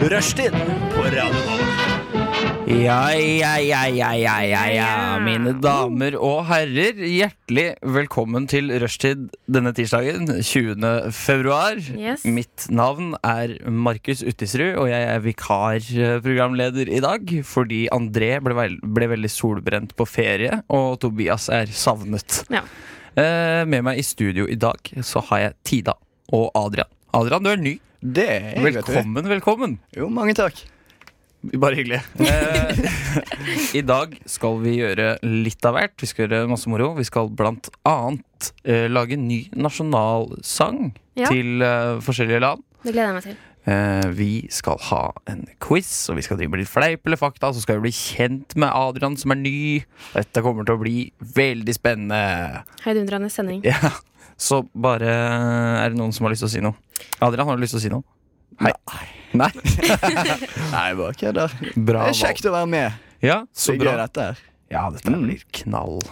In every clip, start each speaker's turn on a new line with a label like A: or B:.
A: Rushtid på Radio Nova.
B: Ja, ja, ja, ja, ja, ja, ja, mine damer og herrer. Hjertelig velkommen til rushtid denne tirsdagen, 20. februar.
C: Yes.
B: Mitt navn er Markus Uttisrud, og jeg er vikarprogramleder i dag. Fordi André ble, vel- ble veldig solbrent på ferie, og Tobias er savnet.
C: Ja.
B: Eh, med meg i studio i dag så har jeg Tida og Adrian. Adrian, du er ny.
A: Det er jeg, vet du.
B: Velkommen, velkommen.
A: Jo, mange takk.
B: Bare hyggelig. Eh, I dag skal vi gjøre litt av hvert. Vi skal gjøre masse moro. Vi skal blant annet eh, lage en ny nasjonalsang
C: Ja.
B: til eh, forskjellige land.
C: Det gleder jeg meg til.
B: Eh, vi skal ha en quiz, og vi skal drive med litt fleip eller fakta. Så skal vi bli kjent med Adrian, som er ny. Dette kommer til å bli veldig spennende.
C: Heidundrende sending.
B: Ja. Så bare Er det noen som har lyst til å si noe? Adrian, har du lyst til å si noe? Hei. Nei?
A: Nei, bare kødder. Det
B: Bra
A: er
B: valg.
A: kjekt å være med.
B: Ja, så
A: Så gøy
B: bra.
A: dette her.
B: Ja, dette
A: Mm.
B: blir knall.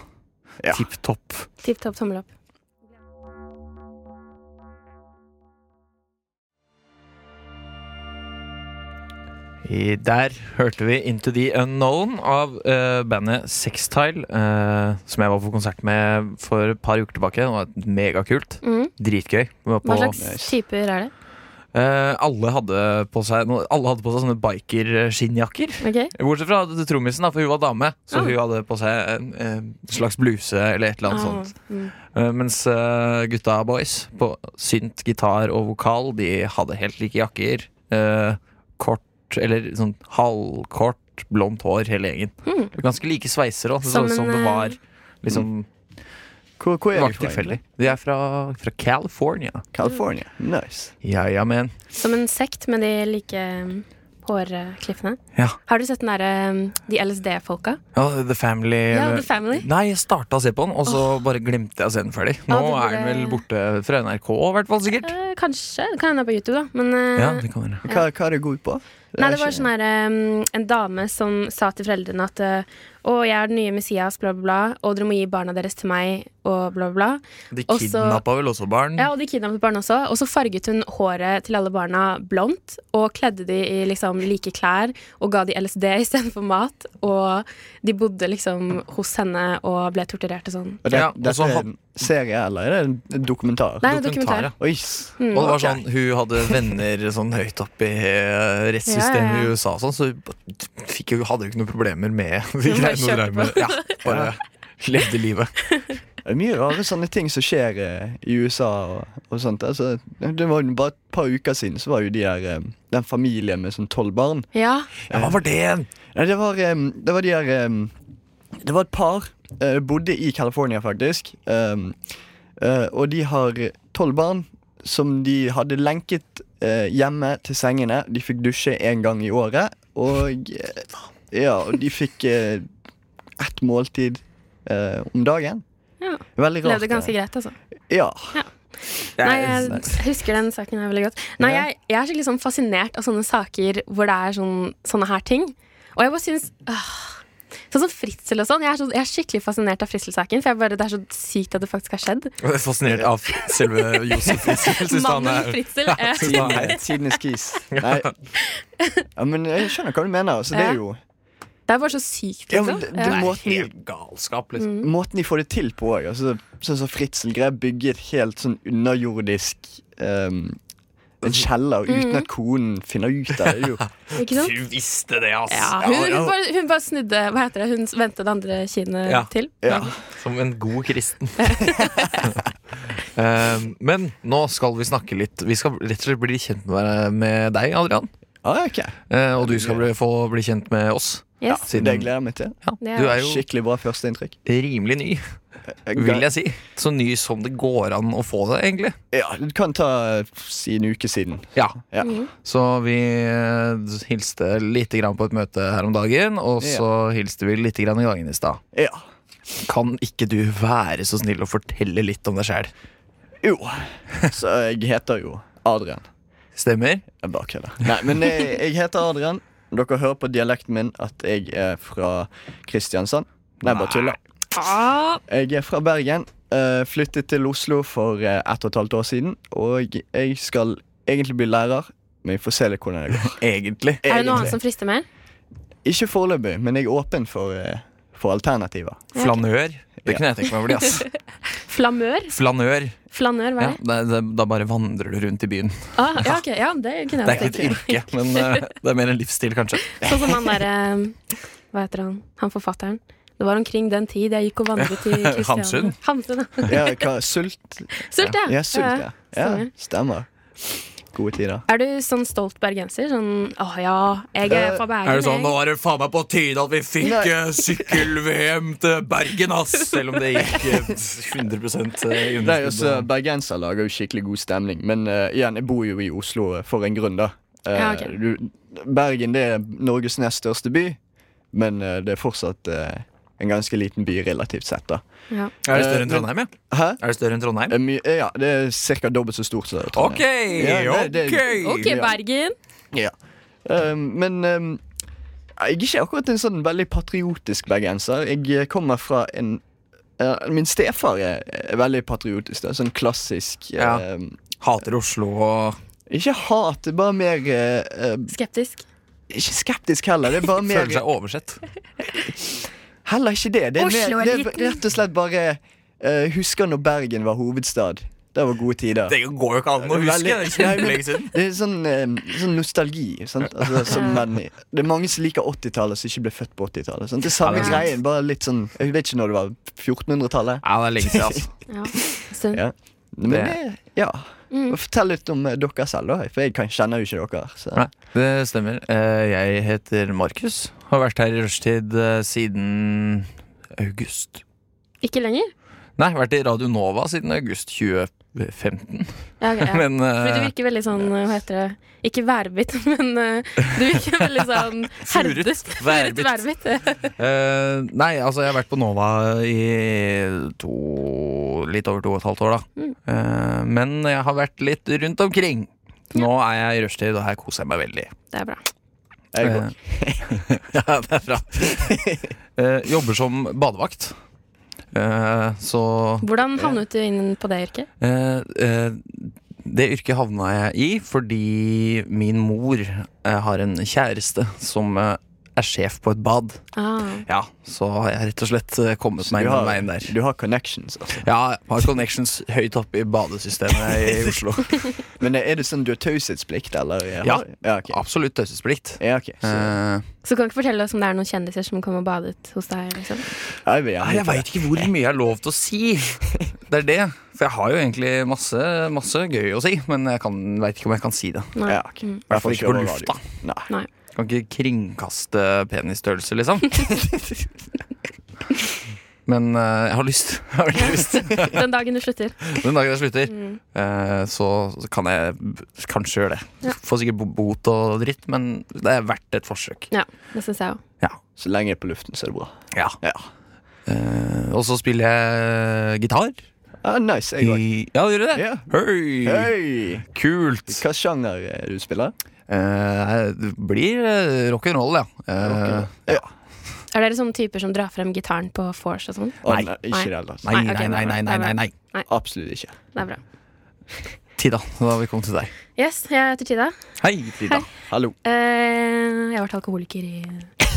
A: Ja.
B: Tipp topp.
C: Tipp topp tommel opp.
B: I- Der hørte vi Into the Unknown av eh, bandet Sextile, eh, som jeg var på konsert med for et par uker tilbake. Det var megakult.
C: Mm.
B: Dritgøy. Vi var
C: Hva
B: på,
C: slags typer er det?
B: eh, alle, hadde på seg, noe- alle hadde på seg sånne biker-skinnjakker.
C: Ok,
B: Bortsett fra trommisen, da, for hun var dame. Så
C: Ah.
B: hun hadde på seg en, en slags bluse eller et eller annet sånt.
C: Ah, mm.
B: Eh, Mens eh, gutta boys på synt, gitar og vokal, de hadde helt like jakker. Eh, Kort, eller sånn halvkort, blondt hår, hele gjengen.
C: Mm.
B: Ganske like sveiser òg,
C: Som
B: sånn som
C: en,
B: det
C: eh,
B: var liksom
A: Hvor, hvor
B: Det
A: er
B: var
A: du
B: ikke
A: fra?
B: tilfeldig.
A: egentlig?
B: De er fra, fra California.
A: California. Nice.
B: Ja, ja, men
C: Som en sekt med de like mm, hårkliffene.
B: Ja.
C: Har du sett den derre mm, de LSD-folka?
B: Ja, The Family
C: Ja, The Family.
B: Nei, jeg starta å se på den, og så bare glemte jeg å se den ferdig. Nå
C: Ja, det burde-
B: er den vel borte fra NRK, i hvert fall sikkert.
C: Eh, kanskje. Det kan hende det er på YouTube, da. Men eh,
B: Ja, det kan være.
A: Hva, hva er det god på?
C: Nei, det
A: er
C: var
A: ikke-
C: sånn her um, En dame som sa til foreldrene at eh, Å, jeg er den nye Messias, bla, bla, bla. Og dere må gi barna deres til meg, og bla, bla, bla.
B: De
C: Også-
B: kidnappa vel også barn?
C: Ja, og de kidnappet barna også. Og så farget hun håret til alle barna blondt, og kledde de i liksom like klær, og ga de LSD istedenfor mat. Og de bodde liksom hos henne og ble torturert og sånn.
A: Og det,
B: Ja, og
A: dette
B: så
A: er
B: ha-
A: en serie, eller er det en dokumentar?
C: Nei,
B: Dokumentar, ja.
C: dokumentar.
A: Oi. s-
B: Og det
A: Ok.
B: var sånn, Hun hadde venner sånn høyt opp i eh, rettssystemet
C: Ja, ja,
B: i
C: ja.
B: USA, og sånn, så hun b- fikk jo, hadde jo ikke noen problemer med de
C: Hun bare
B: greiene hun
C: kjørte
B: drev med. Ja, bare levde livet.
A: Det er mye rare sånne ting som skjer eh, i USA og, og sånt. Altså, det var jo bare et par uker siden så var jo de her, eh, den familien med sånn tolv barn.
C: Ja.
B: Ja, Hva var det igjen?
A: Nei, det var, em, det var de her em, Det var et par. eh, bodde i California, faktisk. Em, eh, og de har tolv barn som de hadde lenket eh, hjemme til sengene. De fikk dusje én gang i året. Og eh, ja, og de fikk eh, ett måltid eh, om dagen.
C: ja.
A: Veldig rart.
C: Levde ganske greit, altså.
A: det. Ja.
C: Nei, jeg husker den saken her veldig godt. Nei,
A: Ja.
C: jeg, jeg er skikkelig sånn fascinert av sånne saker hvor det er sånn, sånne her ting. Og jeg bare syns øh, Sånn som Fritzel og sånn. Jeg er, så, jeg er skikkelig fascinert av Fritzel-saken. For jeg bare, det er så sykt at det faktisk har skjedd.
B: Jeg er fascinert av selve Josef Fritzl. Synes han
C: Mannen
B: er
C: Fritzel. eh.
A: Tidene- Tidenes kis. Nei. Ja, men jeg skjønner hva du mener. Altså, det
C: Ja.
A: er jo
C: Det er bare så sykt,
A: Ja,
C: liksom.
A: men det- det
C: Ja.
A: må-
B: Nei, helt galskap, liksom.
A: måten de får det til på òg. Altså, sånn som Fritzel greier å bygge et helt sånn underjordisk ehm, en
B: Altså-
A: kjeller
B: Mm.
A: uten at konen finner ut av det. det. er Jo.
C: Ikke sant?
B: Hun visste det, ass!
C: Ja, hun,
B: Ja,
C: hun, bare, hun bare snudde Hva heter det? Hun vendte det andre kinnet
B: Ja.
C: til.
A: Ja.
B: Som en god kristen. Eh, men nå skal vi snakke litt. Vi skal rett og slett bli kjent med- med deg, Adrian.
A: Ah, ok.
B: Eh, og du skal bli, få bli kjent med oss.
A: ja,
C: Yes.
A: det gleder jeg meg til.
B: Ja,
C: Det er-
B: du er jo
A: Skikkelig bra førsteinntrykk.
B: rimelig ny, vil jeg si. Så ny som det går an å få det, egentlig.
A: Ja, det kan ta eh, si en uke siden.
B: Ja,
A: Ja.
B: Så vi eh, hilste lite grann på et møte her om dagen, og så hilste vi lite grann i gangen i stad.
A: Ja.
B: Kan ikke du være så snill å fortelle litt om deg sjæl?
A: Jo. Så jeg heter jo Adrian.
B: Stemmer?
A: Jeg bare kødder. Nei, men jeg, jeg heter Adrian. Dere hører på dialekten min at jeg er fra Kristiansand. Nei, bare tuller.
C: Ah,
A: Jeg er fra Bergen. eh, flyttet til Oslo for eh, ett og et halvt år siden. Og jeg skal egentlig bli lærer, men vi får se litt hvordan det går.
B: Egentlig.
C: Er det noe annet som frister mer?
A: Ikke foreløpig, men jeg er åpen for, eh, for alternativer.
B: Flanør. Det
A: Ja.
B: kunne jeg tenkt meg å bli. ass
C: Flamør?
B: Flanør.
C: Flanør, hva
B: Ja,
C: er det?
B: det, det, da bare vandrer du rundt i byen.
C: Ah, ja, ok, ja, det kunne
B: Det er
C: jeg
B: ikke
C: tenkt.
B: et yrke, men eh, det er mer en livsstil, kanskje.
C: Sånn som han derre Hva heter han? Han forfatteren. Det var omkring den tid jeg gikk og vandret i Kristiania.
B: Hamsun.
C: Hamsun, ja.
A: Ja, hva, sult?
C: Sult, ja.
A: Ja, sult, ja. ja
C: stemmer.
A: stemmer. Gode tider.
C: Er du sånn stolt bergenser? Sånn å ja, jeg er
A: Eh,
C: fra Bergen.
B: Er det sånn, Nå
C: jeg.
B: er det faen meg på tide at vi fikk
A: Nei.
B: eh, sykkel-VM til Bergen, ass! Selv om det gikk eh, 100 i
A: Nei, også
B: underskudd.
A: Bergenser lager jo skikkelig god stemning, men eh, igjen, jeg bor jo i Oslo eh, for en grunn, da. Eh,
C: Ja, ok.
A: du, Bergen det er Norges nest største by, men eh, det er fortsatt eh, en ganske liten by relativt sett, da.
C: Ja.
B: Er det større enn Trondheim, ja?
A: Hæ?
B: Er det større enn Trondheim?
A: Eh, my- eh, ja, det er ca. dobbelt så stort som det er Trondheim.
B: OK!
A: Ja, det- det-
C: OK,
B: OK!
A: Ja.
C: Bergen.
A: Ja. Um, men um, jeg er ikke akkurat en sånn veldig patriotisk bergenser. Jeg eh, kommer fra en eh, Min stefar er er veldig patriotisk. Da. Sånn klassisk
B: Ja.
A: eh,
B: Hater Oslo og
A: Ikke hat, bare mer eh, eh,
C: Skeptisk.
A: Ikke skeptisk heller. Det er bare mer
B: føler seg oversett.
A: Heller ikke det. Det er,
C: Oslo
A: mer,
C: er
A: det er
C: liten.
A: rett og slett bare eh, Husker når Bergen var hovedstad. Det var gode tider.
B: Det går jo ikke an å huske! Det er
A: Veldig-
B: kjempelenge siden.
A: Det er sånn, eh, sånn nostalgi. Sant? Altså, som menn i- det er mange som liker 80-tallet, som ikke ble født på 80-tallet. sant? Det er samme
B: Ja, det er sant.
A: greien, bare litt sånn Jeg vet ikke når det var 1400-tallet.
B: Ja, det er lenge siden, ass.
C: Ja. Stund. Mm.
A: Ja. Men
B: Det-
A: det, ja. Fortell litt om eh, dere selv, da. For jeg kan, kjenner jo ikke dere. Så.
B: Nei, det stemmer. Eh, Jeg heter Markus. Har vært her i rushtid eh, siden august.
C: Ikke lenger?
B: Nei, vært i Radio Nova siden august 2015.
C: Ja, ok, ja.
B: Men eh,
C: Fordi du virker veldig sånn, hva heter det, ikke værbitt, men eh, du virker veldig sånn
B: Furet,
C: herdet. Furet
B: værbitt.
C: værbitt.
B: eh, Nei, altså, jeg har vært på Nova i to Litt over to og et halvt år, da.
C: Mm.
B: Eh, men jeg har vært litt rundt omkring. Nå er jeg i rushtid, og her koser jeg meg veldig.
C: Det er bra.
A: Jeg, går-
B: Eh, ja, det er bra. Eh, jobber som badevakt. Eh, så
C: Hvordan havnet du inn på det yrket?
B: Eh, eh, det yrket havna jeg i fordi min mor eh, har en kjæreste som eh, er sjef på et bad.
C: Ah,
B: Ja, så har jeg rett og slett eh, kommet
A: du,
B: meg inn den veien
A: har,
B: der.
A: du har connections. Altså.
B: Ja, jeg har connections høyt oppe i badesystemet i Oslo.
A: Men eh, er det sånn du har taushetsplikt, eller? eh,
B: Ja.
A: har- Ja, ok.
B: Absolutt taushetsplikt.
A: Ja, ok. Så,
B: Eh,
C: så kan du ikke fortelle oss om det er noen kjendiser som kom og badet hos deg? Liksom?
A: jeg vil gjerne
B: Nei, jeg
A: vite
B: veit ikke hvor mye jeg har lov til å si. Det er det. For jeg har jo egentlig masse, masse gøy å si, men jeg veit ikke om jeg kan si det.
A: det.
C: Nei.
A: Ja, ok.
C: Mm.
A: I hvert fall
B: Ikke på
A: over
B: lufta.
A: radio. Nei.
C: Nei.
B: Kan ikke kringkaste penisstørrelse, liksom. Men eh, jeg har lyst. Jeg har veldig lyst.
C: Den dagen du slutter. Mm.
B: Den dagen jeg slutter, eh, så, så kan jeg b- kanskje gjøre det. Får sikkert bo- bot og dritt, men det er verdt et forsøk.
C: Ja, det syns jeg òg.
B: Ja.
A: Så lenge jeg er på luften, så er det bra.
B: ja.
A: Ja.
B: Eh, og så spiller jeg gitar.
A: Ah, nice. Jeg òg.
B: I, ja, gjør du det?
A: Ja.
B: Høy!
A: Hei!
B: Kult!
A: Hva sjanger eh, du spiller?
B: Eh, det blir eh, rock'n'roll, ja. Eh,
A: Ja.
C: Er dere sånne typer som drar frem gitaren på vors og sånn?
A: Å,
B: Nei.
A: nei, ikke det heller.
B: nei,
C: Nei,
B: nei, nei,
C: ok, det
B: nei,
C: er
B: nei,
C: bra.
B: nei, nei.
A: Absolutt ikke.
C: Det er bra.
B: Tida, da har vi kommet til deg.
C: Yes, jeg heter Tida.
B: Hei, Frida.
A: Hallo.
C: Eh, jeg har vært alkoholiker i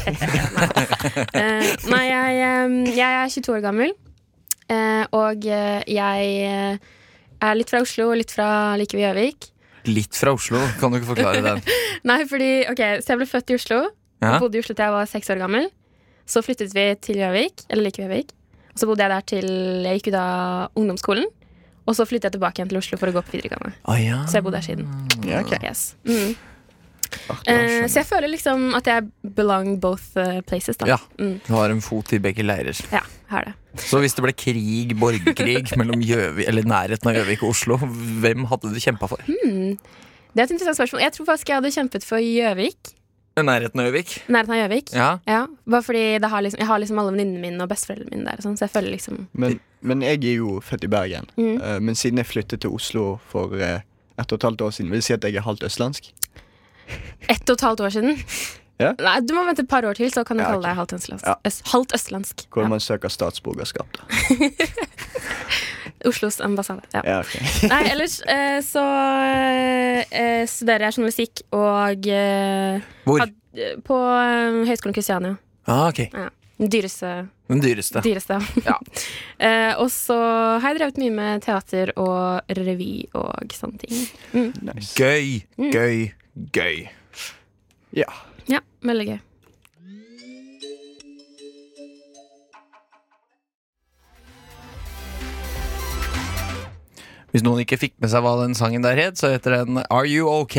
C: Eh, Nei, jeg, eh, jeg er 22 år gammel. eh, og eh, jeg eh, er litt fra Oslo og litt fra like ved Gjøvik.
B: Litt fra Oslo, kan du ikke forklare den?
C: Nei, fordi, ok, Så jeg ble født i Oslo.
B: Ja.
C: Bodde i Oslo til jeg var seks år gammel. Så flyttet vi til Gjøvik, eller like ved Gjøvik. Og så bodde jeg der til jeg gikk ut av ungdomsskolen. Og så flyttet jeg tilbake igjen til Oslo for å gå på videregående.
B: Ah, ja.
C: Så jeg bodde her siden.
A: Ja, ok.
C: Yes. Mm.
A: Artig,
C: Eh,
A: jeg skjønner.
C: så jeg føler liksom at jeg belong both eh, places, da.
B: Ja.
C: Mm.
B: Du har en fot i begge leirer.
C: Ja, jeg har det.
B: Så hvis det ble krig, borgerkrig, mellom Gjøvik, eller nærheten av Gjøvik og Oslo, hvem hadde du kjempa for?
C: Hm? Det er et interessant spørsmål. Jeg tror faktisk jeg hadde kjempet for Gjøvik.
B: Eh, Nærheten av Gjøvik?
C: Nærheten av Gjøvik.
B: Ja.
C: Ja, bare fordi det har liksom, jeg har liksom alle venninnene mine og besteforeldrene mine der. Og sånn, så jeg føler liksom
A: Men, men jeg er jo født i Bergen.
C: Mm.
A: Eh, Men siden jeg flyttet til Oslo for eh, ett og et halvt år siden, vil det si at jeg er halvt østlandsk?
C: ett og et halvt år siden.
A: Ja.
C: Nei, Du må vente et par år til, så kan du
A: Ja, ok.
C: kalle deg halvt østlandsk.
A: Ja.
C: Øst, halvt østlandsk.
A: Hvor
C: Ja.
A: man søker statsborgerskap, da.
C: Oslos ambassade. Ja.
A: Ja, ok.
C: Nei, ellers eh, så eh, eh, studerer journalistikk og eh,
B: Hvor?
C: had, På eh, Høgskolen Kristiania.
B: Ah, ok.
C: Ja. Den dyreste.
B: Den dyreste.
C: dyreste.
B: Ja.
C: eh, og så har jeg drevet mye med teater og revy og sånne ting.
A: Nice.
B: Gøy,
C: Mm.
B: gøy, gøy.
A: Ja.
C: Ja, veldig gøy.
B: Hvis noen ikke fikk med seg hva den sangen der het, så heter den Are You OK?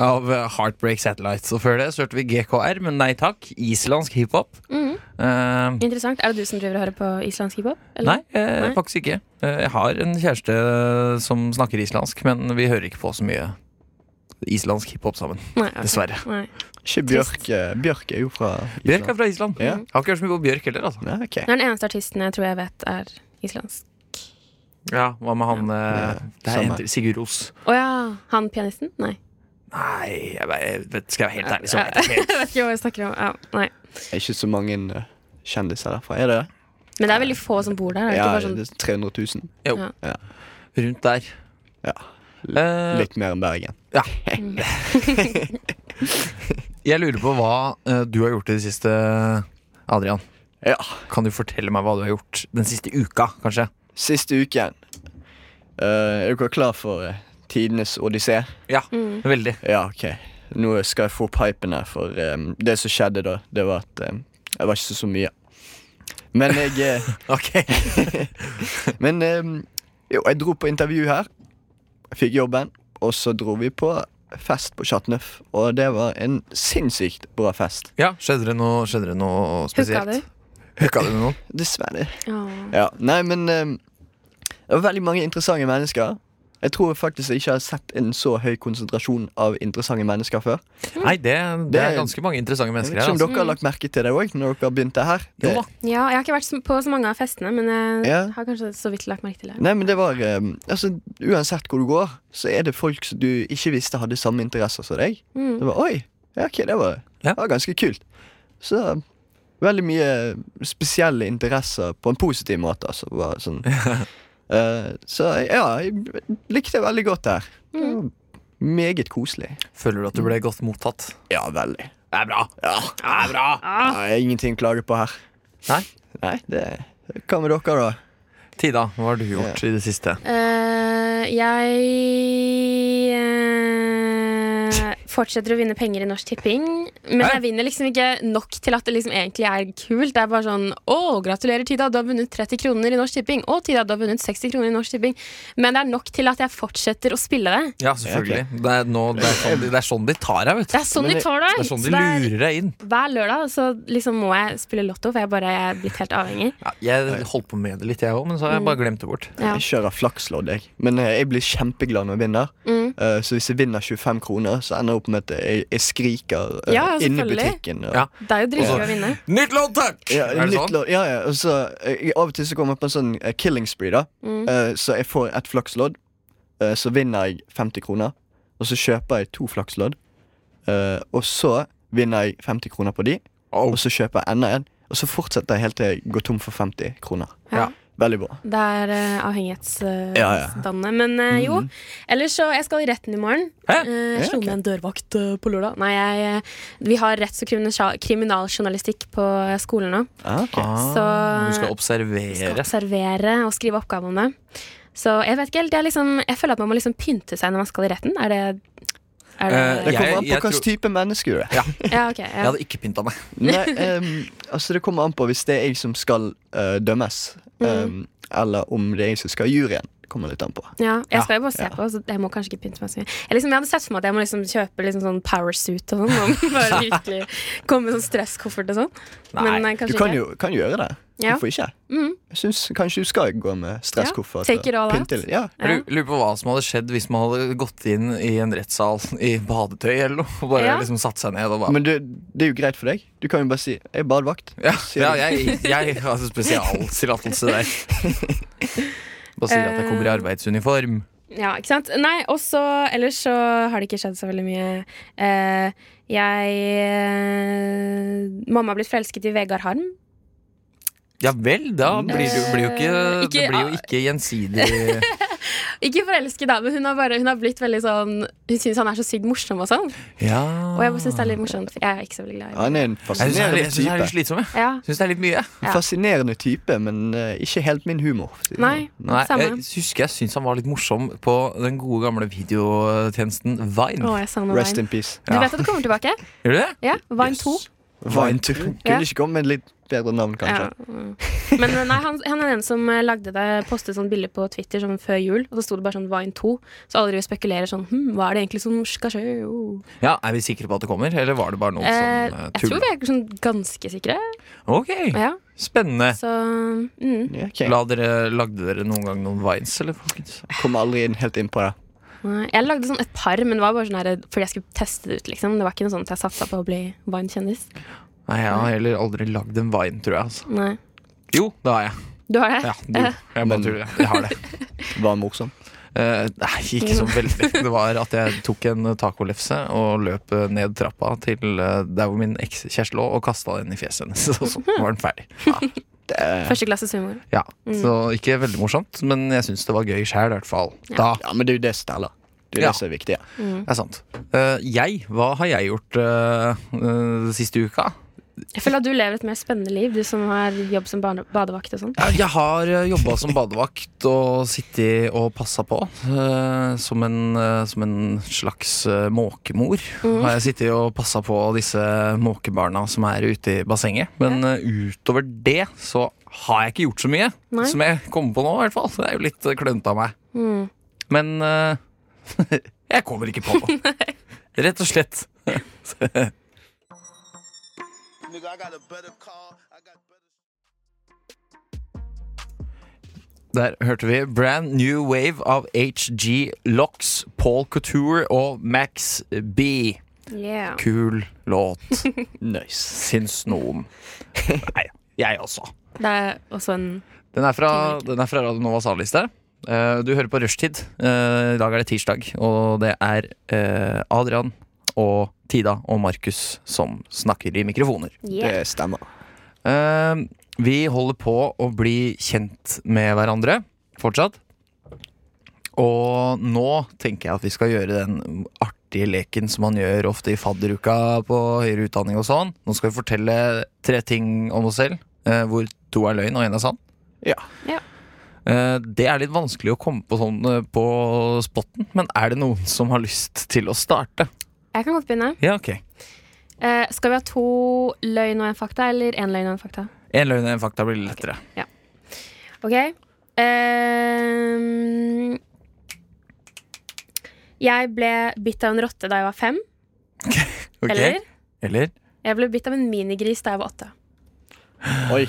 B: Av eh, Heartbreak Satellites. Og før det så hørte vi GKR, men nei takk. Islandsk hiphop.
C: Mhm.
B: Eh,
C: Interessant. Er det du som driver og hører på islandsk hiphop? eller?
B: Nei, eh,
C: Nei.
B: faktisk ikke. Eh, Jeg har en kjæreste eh, som snakker islandsk, men vi hører ikke på så mye islandsk hiphop sammen.
C: Nei, ok.
B: Dessverre.
C: Nei.
A: Ikke Bjørk. eh, Bjørk er jo fra
B: Bjørk er fra Island.
A: Ja.
B: Jeg har ikke hørt så mye på Bjørk heller, altså.
A: Nei, ok.
C: Det er den eneste artisten jeg tror jeg vet er islandsk.
B: Ja, Hva med han eh, det er
A: samme.
B: en til, Sigurd Ros.
C: Å ja, han pianisten? Nei.
B: Nei, jeg vet, jeg vet, skal jeg være helt ærlig, så
C: Ja.
B: vet jeg ikke helt.
C: Jeg vet ikke hva jeg snakker om. Ja, nei.
A: Det er ikke så mange eh, kjendiser derfra. Er det det?
C: Men det er veldig få som bor der. Er det
A: Ja,
C: ikke bare sånn
A: det er 300 000.
B: Rundt der.
A: Ja.
B: Eh,
A: Litt mer enn Bergen.
B: jeg lurer på hva eh, du har gjort i det siste, Adrian.
A: Ja.
B: Kan du fortelle meg hva du har gjort den siste uka, kanskje?
A: Siste uken. Eh, er dere klar for eh, tidenes odyssé?
B: Ja,
C: Mm.
B: veldig.
A: Ja, ok. Nå skal jeg få opp hypen her, for eh, det som skjedde da, det var at eh, jeg var ikke så, så mye. Men jeg eh,
B: Ok.
A: Men eh, jo, jeg dro på intervju her. Fikk jobben. Og så dro vi på fest på Chat Neuf, og det var en sinnssykt bra fest.
B: Ja, skjedde det noe, skjedde det noe
C: Hooka
B: spesielt?
C: du?
B: Hooka du med noen?
A: Dessverre.
C: Åh.
A: Ja, Nei, men eh, det var veldig mange interessante mennesker. Jeg tror faktisk jeg ikke har sett en så høy konsentrasjon av interessante mennesker før.
C: Mm.
B: Nei, det, det
A: Det
B: er
A: er-
B: ganske mange interessante
A: Jeg
B: mennesker
A: vet ikke
B: her.
A: om
B: Altså.
A: dere har lagt merke til det òg, når dere begynte her.
B: Jo
A: Det,
B: da.
C: Ja, jeg har ikke vært så- på så mange av festene, men jeg
A: Ja.
C: har kanskje så vidt lagt merke til det.
A: nei, men det var eh, Altså, uansett hvor du går, så er det folk som du ikke visste hadde samme interesser som deg.
C: Mm.
A: Det var, Oi, ja, ok, det var,
B: Ja.
A: det var ganske kult. Så veldig mye spesielle interesser på en positiv måte. Altså, var sånn. Eh, så ja, jeg likte det veldig godt der.
C: Mm.
A: Meget koselig.
B: Føler du at du ble godt mottatt?
A: Ja, veldig.
B: Det er bra. Det er bra.
C: Ah.
A: Ja, jeg har ingenting å klage på her.
B: Nei?
A: Nei, det Hva med dere, da?
B: Tida, hva har du gjort i det siste?
C: Eh, jeg eh, fortsetter å vinne penger i Norsk Tipping. Men
B: Hæ?
C: jeg vinner liksom ikke nok til at det liksom egentlig er kult. Det er bare sånn Å, gratulerer, Tida, du har vunnet 30 kroner i Norsk Tipping. Å, Tida, du har vunnet 60 kroner i Norsk Tipping. Men det er nok til at jeg fortsetter å spille det.
B: Ja, selvfølgelig. Det, er nå, det, er sånn, de- det er sånn de tar deg, vet du.
C: Det er sånn
A: Men
C: de
A: det-
C: tar
B: Det
C: deg.
B: er sånn de
C: Så det er-
B: lurer deg inn.
C: Hver lørdag så liksom må jeg spille lotto, for jeg bare jeg er blitt helt avhengig.
B: Ja, jeg holdt på med det litt, jeg òg, men så har jeg
C: Mm.
B: bare glemt det bort.
C: Ja.
A: Jeg kjører flakslodd, jeg. Men eh, jeg blir kjempeglad når jeg vinner.
C: Mm.
A: Eh, så hvis jeg vinner 25 kroner, så ender jeg opp med at jeg, jeg skriker uh,
C: Ja,
A: inne i
C: selvfølgelig.
A: butikken. og-
B: Ja.
C: Det er jo
B: Altså,
C: dritgøy å vinne.
B: Nytt lån, takk!
A: Ja,
B: er det
A: nytt
B: sånn?
A: lån. Ja, ja. Og så, eh, av og til så kommer jeg på en sånn eh, killing spree. da
C: Mm.
A: Eh, Så jeg får et flakslodd, eh, så vinner jeg 50 kroner. Og så kjøper jeg to flakslodd, eh, og så vinner jeg 50 kroner på de.
B: Oh.
A: Og så kjøper jeg enda en, og så fortsetter jeg helt til jeg går tom for 50 kroner.
B: Ja.
A: Veldig bra.
C: Det er uh, avhengighetsdannende.
A: Ja, ja. Mm.
C: Men eh, jo. Ellers så Jeg skal i retten i morgen.
B: Hæ?
C: Eh,
A: Ja,
C: jeg slo
A: ok.
C: med en dørvakt eh, på lørdag. Nei, jeg, eh, vi har retts- og kriminal- kriminaljournalistikk på eh, skolen nå.
A: Ah, ok.
B: Ah,
C: Så-
B: du skal
C: Vi skal
B: observere.
C: observere og skrive oppgave om det. Så jeg vet ikke helt. Jeg, liksom, jeg føler at man må liksom pynte seg når man skal i retten. Er det, er det
B: Eh,
A: Det kommer an på hvilken
B: jeg tror-
A: type menneske du er.
C: Ja, ok.
B: Jeg
C: Ja.
B: hadde ikke pynta meg.
A: Nei, ehm, altså Det kommer an på hvis det er jeg som skal eh, dømmes,
C: Mm.
A: ehm, eller om det er jeg som skal i juryen. Kommer litt an på.
C: Ja, jeg
B: Ja,
C: skal jo bare se
A: ja.
C: på, så jeg må kanskje ikke pynte meg så mye. Jeg, liksom, jeg hadde sett for meg at jeg må liksom kjøpe liksom sånn powersuit og sånn. Og bare virkelig komme med sånn stresskoffert og sånn.
B: Nei,
C: Men
A: Du
C: eh, kanskje
A: kan
C: ikke.
A: jo kan gjøre det.
C: Ja.
A: Hvorfor ikke?
C: Mm.
A: Jeg synes Kanskje du skal gå med stresskoffert.
C: Ja, take it all
A: og
C: out.
A: pynte litt. Ja.
B: Jeg
C: Ja.
B: lu- lurer på hva som hadde skjedd hvis man hadde gått inn i en rettssal i badetøy eller noe. Og bare
C: Ja.
B: liksom satt seg ned og bare
A: Men det, det er jo greit for deg. Du kan jo bare si 'jeg er badevakt'.
B: Ja,
A: Sier
B: ja
A: du.
B: jeg, jeg har spesialtillatelse der. Bare sier at jeg
C: Eh.
B: kommer i arbeidsuniform.
C: Ja, ikke sant? Nei, og så Ellers så har det ikke skjedd så veldig mye. Eh, jeg eh, Mamma har blitt forelsket i Vegard Harm.
B: Mm. Ja vel, da blir det jo, blir jo ikke,
C: Eh,
B: det
C: ikke-
B: blir jo ikke gjensidig
C: Ikke forelsket, da, men hun har, bare, hun har blitt veldig sånn Hun syns han er så sykt morsom og sånn.
B: Ja.
C: Og jeg bare syns det er litt morsomt. for Jeg er ikke så veldig glad i
A: Han er en
B: Jeg syns det er
A: fascinerende
B: litt- Mm. jeg synes det er litt
A: type.
B: slitsomt. jeg.
C: Ja.
B: Jeg Syns det er litt mye.
C: ja.
A: Fascinerende type, men eh, ikke helt min humor.
C: Nei,
A: sånn.
B: Nei, jeg
C: samme.
B: husker jeg syns han var litt morsom på den gode gamle videotjenesten Vine.
C: Å, jeg savner
A: Rest
C: Vine.
A: in peace.
C: Du
B: Ja.
C: vet at det kommer tilbake?
B: Gjør du det?
C: Ja, Vine
A: Yes.
C: 2.
A: Vine Tour. Kunne ikke komme med et litt bedre navn,
C: Ja.
A: kanskje.
C: mm. Men nei, han, han er den som eh, lagde det, postet sånn bilde på Twitter sånn før jul, og så sto det bare sånn Vine 2. Så alle driver og spekulerer sånn hm, hva er det egentlig som skal skje? Oh.
B: Ja, Er vi sikre på at det kommer, eller var det bare noe
C: Eh,
B: som eh,
C: jeg tror
B: tull?
C: vi er sånn ganske sikre.
B: Ok,
C: Ja,
B: Spennende.
C: så mm.
A: Ja, ok.
B: La dere, lagde dere noen gang noen vines, eller? folkens?
A: Kom aldri inn helt inn på det.
C: Nei, Jeg lagde sånn et par, men det var bare sånn her, fordi jeg skulle teste det ut. liksom Det var ikke noe sånn at jeg satsa på å bli Vine-kjendis.
B: Nei, jeg har heller aldri lagd en vine, tror jeg. altså
C: Nei.
B: Jo, det har jeg.
C: Du har det?
B: Ja, du, jeg bare
A: Men-
B: tuller. jeg. Jeg har det.
A: Var morsom.
B: Eh, nei, ikke så veldig. Det var at jeg tok en tacolefse og løp eh, ned trappa til eh, der hvor min ekskjæreste lå, og kasta den i fjeset hennes. Og så var den ferdig.
C: Førsteklasses humor.
B: Ja, Så ikke veldig morsomt, men jeg syns det var gøy sjæl, i hvert fall. Da.
A: Ja, men det er jo det som teller. Det er jo
B: Ja.
A: det som er viktig. ja.
B: Det er sant. Eh, jeg, hva har jeg gjort eh, eh, siste uka?
C: Jeg føler at du lever et mer spennende liv, du som har jobb som barne- badevakt og sånn.
B: Ja, Jeg har jobba som badevakt og sittet og passa på. eh, Som en, eh, som en slags eh, måkemor har jeg sittet og passa på disse måkebarna som er ute i bassenget. Men eh, utover det så har jeg ikke gjort så mye.
C: Nei.
B: Som jeg kommer på nå, i hvert fall. Så det er jo litt eh, klønete av meg.
C: Mm.
B: Men eh, jeg kommer ikke på noe. Rett og slett.
D: Nigga, I got a better call. I got better.
B: Der hørte vi Brand New Wave av HG Locks, Paul Couture og Max B.
C: Yeah.
B: Kul låt,
A: Nice.
B: syns noen. Nei, jeg også.
C: Det er også en
B: Den er fra, den er fra Radio Novas A-liste. Eh, du hører på Rushtid. Eh, I dag er det tirsdag, og det er eh, Adrian og Tida og Markus som snakker i mikrofoner.
C: yeah.
A: Det stemmer.
B: Eh, vi holder på å bli kjent med hverandre fortsatt. Og nå tenker jeg at vi skal gjøre den artige leken som man gjør ofte i fadderuka på høyere utdanning og sånn. Nå skal vi fortelle tre ting om oss selv, eh, hvor to er løgn og én er sann.
A: Ja.
C: Ja.
B: Eh, Det er litt vanskelig å komme på sånn eh, på spotten, men er det noen som har lyst til å starte?
C: Jeg kan godt begynne.
B: Ja, ok.
C: Eh, skal vi ha to løgn og en fakta, eller én løgn og en fakta?
B: Én løgn og én fakta blir litt lettere.
C: Ok. Ehm, jeg ble bitt av en rotte da jeg var fem.
B: Ok?
C: Eller?
B: Eller?
C: Jeg ble bitt av en minigris da jeg var åtte.
A: Oi.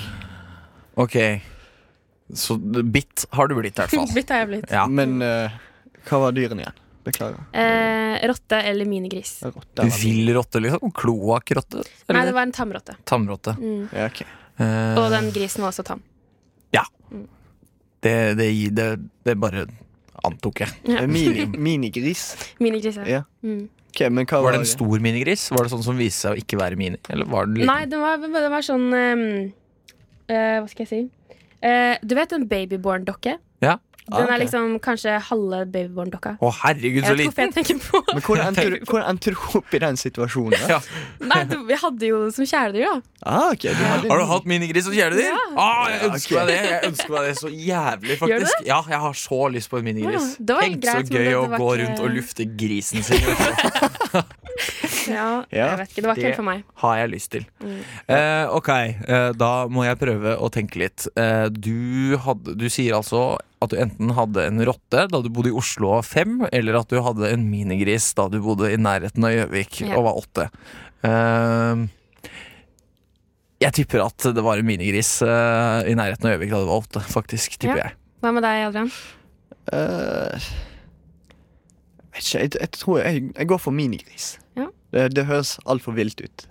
B: Ok. Så bitt har du blitt, i hvert fall.
C: bitt har jeg blitt.
B: Ja.
A: Men eh, hva var dyrene igjen? Beklager.
C: Eh, rotte eller minigris.
A: Det er rått, der var det.
B: Vill rotte, liksom? Kloakkrotte?
C: Nei, det
B: Eller
C: var en tamrotte.
B: tamrotte?
A: Ja, ok.
B: Eh,
C: Og den grisen var også tam.
B: det, det, det, det bare antok jeg.
A: Eh, Mini, minigris.
C: Minigris, ja.
A: Ja.
C: Mm.
A: Ok, men hva
B: Var
A: var
B: det en stor minigris? Var det sånn som viste seg å ikke være mini? Eller var den liten?
C: Nei, den var, den var sånn ehm, eh, Hva skal jeg si? Eh, du vet en babyborn-dokke?
B: Ja.
C: Den
A: Ah, ok.
C: er liksom kanskje halve babyborn-dokka.
B: Å, herregud,
C: Jeg
B: så
C: vet ikke
B: liten!
C: hvorfor jeg tenker på
A: Men hvordan endte, du, hvordan endte du opp i den situasjonen? da?
B: Ja.
C: Nei, du, vi hadde jo det som kjæledyr, da.
A: Ah, ok, du hadde
B: Har du hatt minigris som kjæledyr?
C: Ja.
B: Ah, jeg
A: Ja,
B: ønsker
A: ok.
B: meg det Jeg ønsker meg det så jævlig,
C: Gjør du
B: faktisk. Ja, jeg har så lyst på en minigris.
C: Ja, det var
B: Tenk så
C: greit, men det-
B: gøy å
C: det var
B: gå
C: ikke-
B: rundt og lufte grisen sin.
C: Ja,
A: Ja.
C: jeg vet ikke, Det var ikke helt for meg.
B: har jeg lyst til.
C: Mm.
B: Eh, ok, eh, da må jeg prøve å tenke litt. Eh, du, hadde, du sier altså at du enten hadde en rotte da du bodde i Oslo og fem, eller at du hadde en minigris da du bodde i nærheten av Gjøvik
C: Ja.
B: og var åtte. Eh, jeg tipper at det var en minigris eh, i nærheten av Gjøvik da du var åtte, faktisk. tipper
C: Ja.
B: jeg.
C: Hva med deg, Adrian?
A: Eh, vet ikke, jeg, jeg tror jeg, jeg går for minigris.
C: Ja.
A: Det, det høres altfor vilt ut.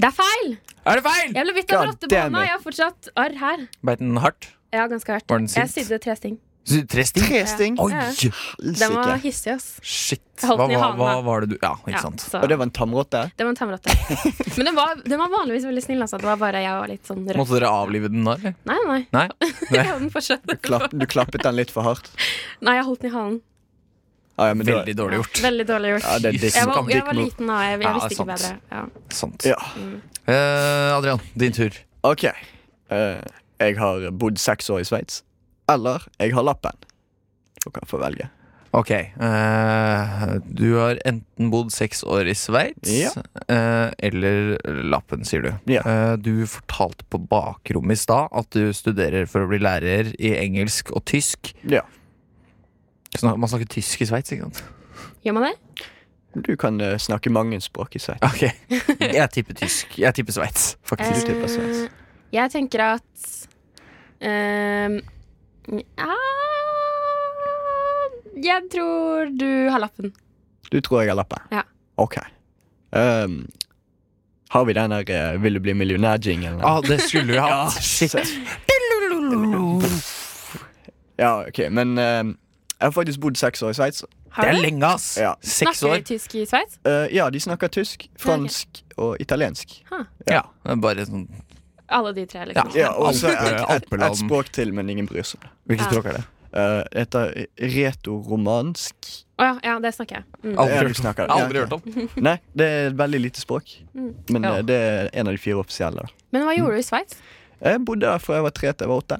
C: Det er feil!
B: Er det feil?!
C: Jeg ble bitt av en
A: God
C: rotte på
A: damn
C: hånda.
A: it.
C: Jeg har fortsatt arr her.
B: Beit den hardt?
C: Ja, ganske hardt.
B: Var den
C: Jeg
B: sint?
C: sydde tre sting.
B: Så Tre sting?
A: Tre sting.
B: Oi!
C: Ja. Den var
A: Helsike.
C: hissig, ass.
B: Shit.
C: Holdt
B: Hva,
C: den i
B: hva,
C: hana.
B: hva var det du Ja, ikke
C: Ja,
B: sant.
C: så-
A: Og det
C: det
A: var en tamrotte?
C: var en tamrotte. Men den var, den var vanligvis veldig snill, altså. Det var bare jeg var litt sånn røff.
B: Måtte dere avlive den da, eller?
C: Nei, nei.
B: Nei?
C: Jeg hadde den fortsatt.
A: Klapp, du klappet den litt for hardt?
C: Nei, jeg holdt den i halen.
A: Ah, ja, men det var-
B: Veldig dårlig gjort.
C: Ja, veldig dårlig gjort.
A: Ja, det er
B: liksom
A: dick,
C: Jeg var, jeg
A: dick
C: var
A: move.
C: liten da, jeg, jeg
B: Ja,
C: visste ikke
B: sant.
C: bedre. Ja.
B: Sant.
A: Ja,
B: Eh, Adrian, din tur.
A: OK. Eh, jeg har bodd seks år i Sveits. Eller jeg har lappen. Du kan få velge.
B: Ok. eh, du har enten bodd seks år i Sveits,
A: Ja.
B: eh, eller Lappen, sier du.
A: Ja.
B: Eh, du fortalte på bakrommet i stad at du studerer for å bli lærer i engelsk og tysk.
A: Ja.
B: Snak- Man snakker tysk i Sveits, ikke sant?
C: Gjør man det?
A: Du kan eh, snakke mange språk i Sveits.
B: Ok. Jeg tipper tysk. Jeg tipper Sveits,
A: Eh,
B: faktisk.
A: Tysk type sveis.
C: jeg tenker at eh, ja, Jeg tror du har lappen.
A: Du tror jeg har lappen?
C: Ja.
A: OK. Ehm, har vi den der eh, 'Vil du bli millionær'-jingelen?
B: Ja, ah, det skulle vi
A: Ja,
B: hatt. Shit.
A: Ja, OK, men ehm, jeg har faktisk bodd seks år i Sveits.
C: Har
B: Det er
C: du?
B: lenge, ass.
A: Ja.
B: Seks
C: Snakker
B: år.
C: de tysk i Sveits?
A: Eh, ja, de snakker tysk, fransk og italiensk.
B: Ja. det er Bare sånn
C: Alle de tre, liksom.
A: Ja, Og så
B: Apple-
A: et, et,
B: Appeland.
A: et språk til, men ingen bryr seg om det.
B: Hvilket
C: Ja.
B: språk er det?
A: Eh, Det heter retoromansk.
C: Å ja, ja, det snakker jeg.
A: Ja,
C: Mm.
A: du
B: Aldri hørt
A: snakker
B: om.
A: det. Ja,
B: Aldri hørt om.
A: Nei, det er et veldig lite språk. Men
B: Ja.
A: eh, det er en av de fire offisielle. da.
C: Men hva gjorde du i Sveits?
A: Jeg bodde der fra jeg var tre til jeg var åtte.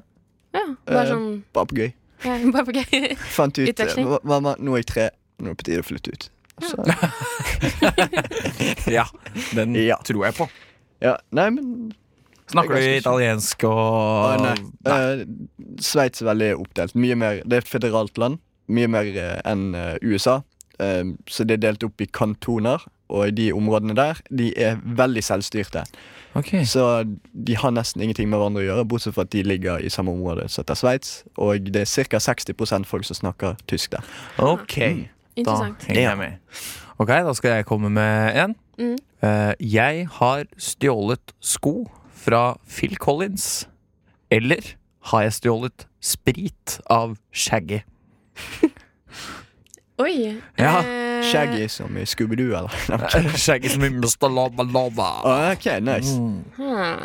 C: Ja, bare
A: Eh,
C: sånn
A: Bare på gøy.
C: ja, bare for gøy.
A: Fant ut eh,
C: Utveksling.
A: hva- Mamma, nå er jeg tre. Nå er det på tide å flytte ut. Så,
B: Ja, den
A: Ja.
B: tror jeg på.
A: ja, nei, men
B: Snakker du
A: Ganske
B: italiensk og
A: Å, nei. Eh, Sveits er veldig oppdelt. Mye mer, det er et føderalt land. Mye mer eh, enn eh, USA. Eh, så det er delt opp i kantoner, og de områdene der de er veldig selvstyrte.
B: Ok.
A: Så de har nesten ingenting med hverandre å gjøre, bortsett fra at de ligger i samme område som heter Sveits. Og det er ca. 60 folk som snakker tysk der.
B: Ok, da
C: Interessant.
B: henger jeg med. Ok, da skal jeg komme med en.
C: Mm.
B: Eh, jeg har stjålet sko fra Phil Collins. Eller har jeg stjålet sprit av Shaggy?
C: Oi.
B: Ja,
C: eh,
A: Shaggy som i Scooby-Doo, eller? Nei.
B: Shaggy som i Mr. Lava Lava.
A: OK, nice.
B: Mm.
C: hmm.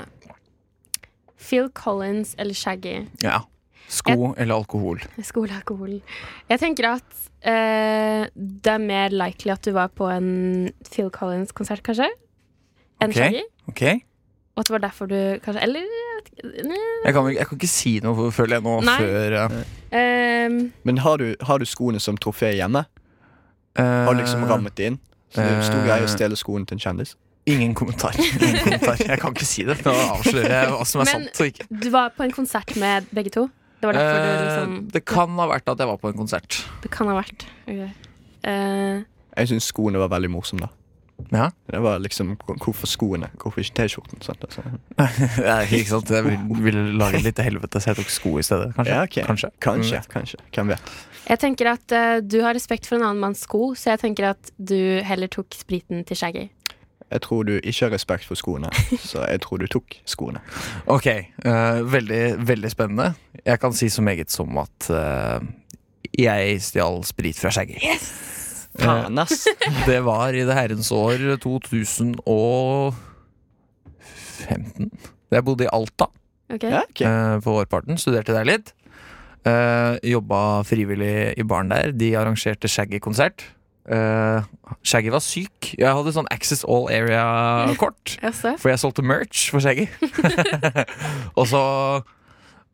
C: Phil Collins eller Shaggy?
B: Ja. Sko eller alkohol?
C: Skolealkohol. Jeg tenker at eh, det er mer likely at du var på en Phil Collins-konsert, kanskje? Enn
B: Ok.
C: Shaggy?
B: Ok? Jeg
C: Og at det var derfor du kanskje Eller jeg vet ikke. Nei.
B: kan, jeg kan ikke si noe, føler jeg nå,
C: Nei.
B: før eh,
C: Ehm,
A: Men har du, har du skoene som trofé hjemme? Har du liksom
B: eh,
A: rammet det inn? Så det er jo stor greie å
B: Eh.
A: stjele skoene til en kjendis.
B: Ingen kommentar. Ingen kommentar. Jeg kan ikke si det, for da avslører jeg hva som er
C: Men-
B: sant og ikke.
C: du var på en konsert med begge to? Det var derfor du liksom
B: Eh, det kan ha vært at jeg var på en konsert.
C: Det kan ha vært. Ok. Eh,
A: Jeg syns skoene var veldig morsomme, da.
B: Ja,
A: Det var liksom hvorfor skoene, hvorfor ikke T-skjorten? sant? Altså.
B: ikke sant? Jeg ville vil lage litt helvete, så jeg tok sko i stedet. Kanskje.
A: Ja, ok.
B: Kanskje. Mm.
A: Kanskje, kanskje. Hvem vet.
C: jeg tenker at eh, du har respekt for en annen manns sko, så jeg tenker at du heller tok spriten til Shaggy.
A: Jeg tror du ikke har respekt for skoene, så jeg tror du tok skoene.
B: Ok, eh, veldig, veldig spennende. Jeg kan si så meget som at eh, jeg stjal sprit fra Shaggy. Eh,
A: Faen, ass!
B: Det var i det herrens år eh, 2015. Jeg bodde i Alta.
C: Ok?
A: Ja, ok.
B: eh, på vårparten. Studerte der litt. Eh, jobba frivillig i baren der. De arrangerte Shaggy-konsert. Eh, Shaggy var syk. Jeg hadde sånn Access All Area-kort.
C: Jaså?
B: For jeg solgte merch for Shaggy. og så